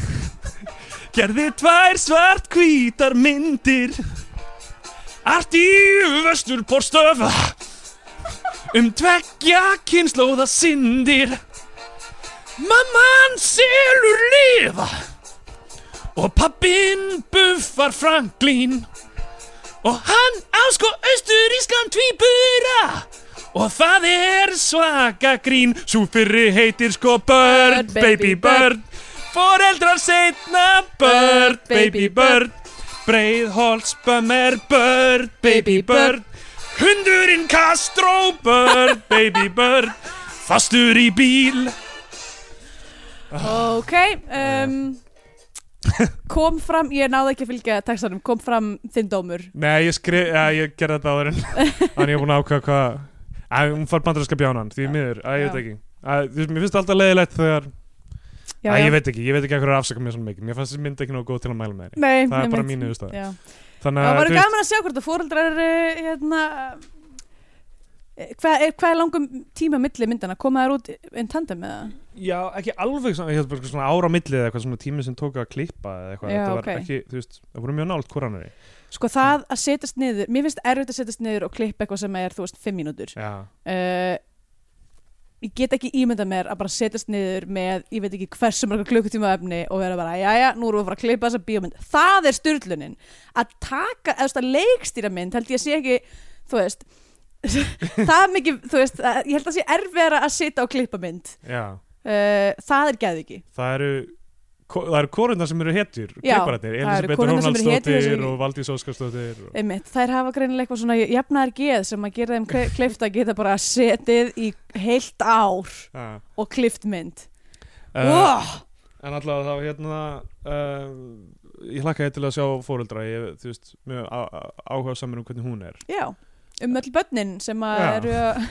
gerði tvær svart hvítar myndir Allt í vestur pórstöfa um tveggja kynnslóða syndir Mamman selur lifa og pappin buffar Franklín og hann á sko austurískan tvíbura og það er svaka grín svo fyrri heitir sko Bird, Bird, baby, Baby Bird foreldrar seinna Bird, Baby Bird Breiðholtsbömm er Bird, Baby Bird Hundurinn Castro Bird, Baby Bird Fastur í bíl ok Ah. um, kom fram, ég náði ekki að fylgja textanum, kom fram þinn dómur Nei, ég skrif, ja, ég gerði þetta áður en Þannig ég er búin að ákveða hvað Æ, hún fær bandarinska bjánan, því miður, æ, ég veit Já. ekki Æ, þú veist, mér finnst alltaf leiðilegt þegar já, Æ, já. ég veit ekki, ég veit ekki að hverju afsaka mér svona mikið Mér fannst þessi mynd ekki nógu góð til að mæla með henni Nei, Það er einmitt. bara mín niðurstaða. Já. Þannig Það að, var þú veist, gaman að sjá hvort að fóreldrar eh, hérna eh, hvað er, hvað er langum tíma milli myndana, koma þær út en tandem með það? já, ekki alveg svona, ég held bara svona ára á milli eða eitthvað svona tími sem tók að klippa eða eitthvað, Já, þetta var ok. ekki, þú veist, það voru mjög nált hvoranari Sko það að setjast niður, mér finnst erfitt að setjast niður og klippa eitthvað sem er, þú veist, fimm mínútur Já, uh, Ég get ekki ímyndað mér að bara setjast niður með, ég veit ekki hversu marga klukkutíma af efni og vera bara, jæja, nú erum við að fara að klippa þessa bíómynd Það er styrlunin að taka, eða þú veist, að leikstýra mynd held ég að sé ekki, þú veist það mikið, þú veist, að- ég held að sé erfiðara að sitja og klippa mynd já, uh, það er geðið ekki það eru ko- það eru korundar sem eru hetjur, Já, það klipparættir eru Elisabeth konurnar sem eru hetjur, Ronaldsdóttir þessi- og Valdís Óskarsdóttir og... Einmitt, þær hafa greinilega eitthvað svona jafnaðar geð sem að gera þeim klift að geta bara setið í heilt ár Já. og klift mynd Eh, oh, En allavega þá hérna um, ég hlakkaði til að sjá fóreldra ég, þú veist, mjög áhuga samir um hvernig hún er já, um öll börnin sem að Já. eru að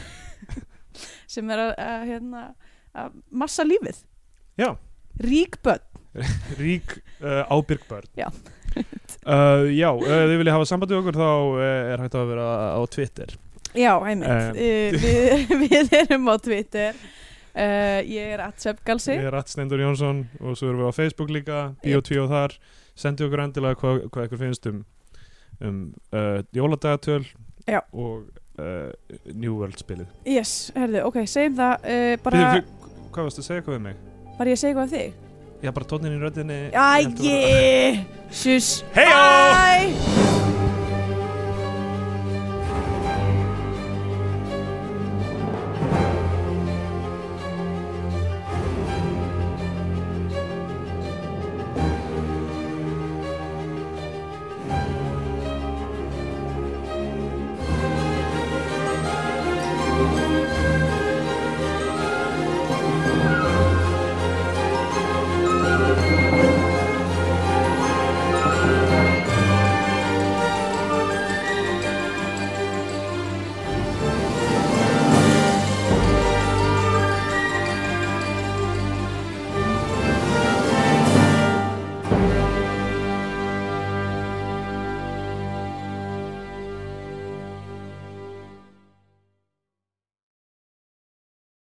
sem er að, að, hérna, að massa lífið Já. rík börn Rík uh, ábyrg börn Já. uh, Já, uh, þið viljið hafa samband við okkur þá uh, er hægt að vera á Twitter já, einmitt Um. uh, við, við erum á Twitter uh, ég er atsefgalsi Ég er Rattstendur Jónsson og svo erum við á Facebook líka Bio2 og þar sendi okkur endilega hvað hva ykkur finnst um, um uh, jóladagatöl Já. og uh, New World spilið yes, herðu, ok, segjum það uh, bara, Býðu, fyr- Hvað varstu að segja eitthvað við mig? var ég að segja eitthvað um þig? Já, bara tónin í röddinni ég held að vera- Æ, ég Sjús Heyo! Bye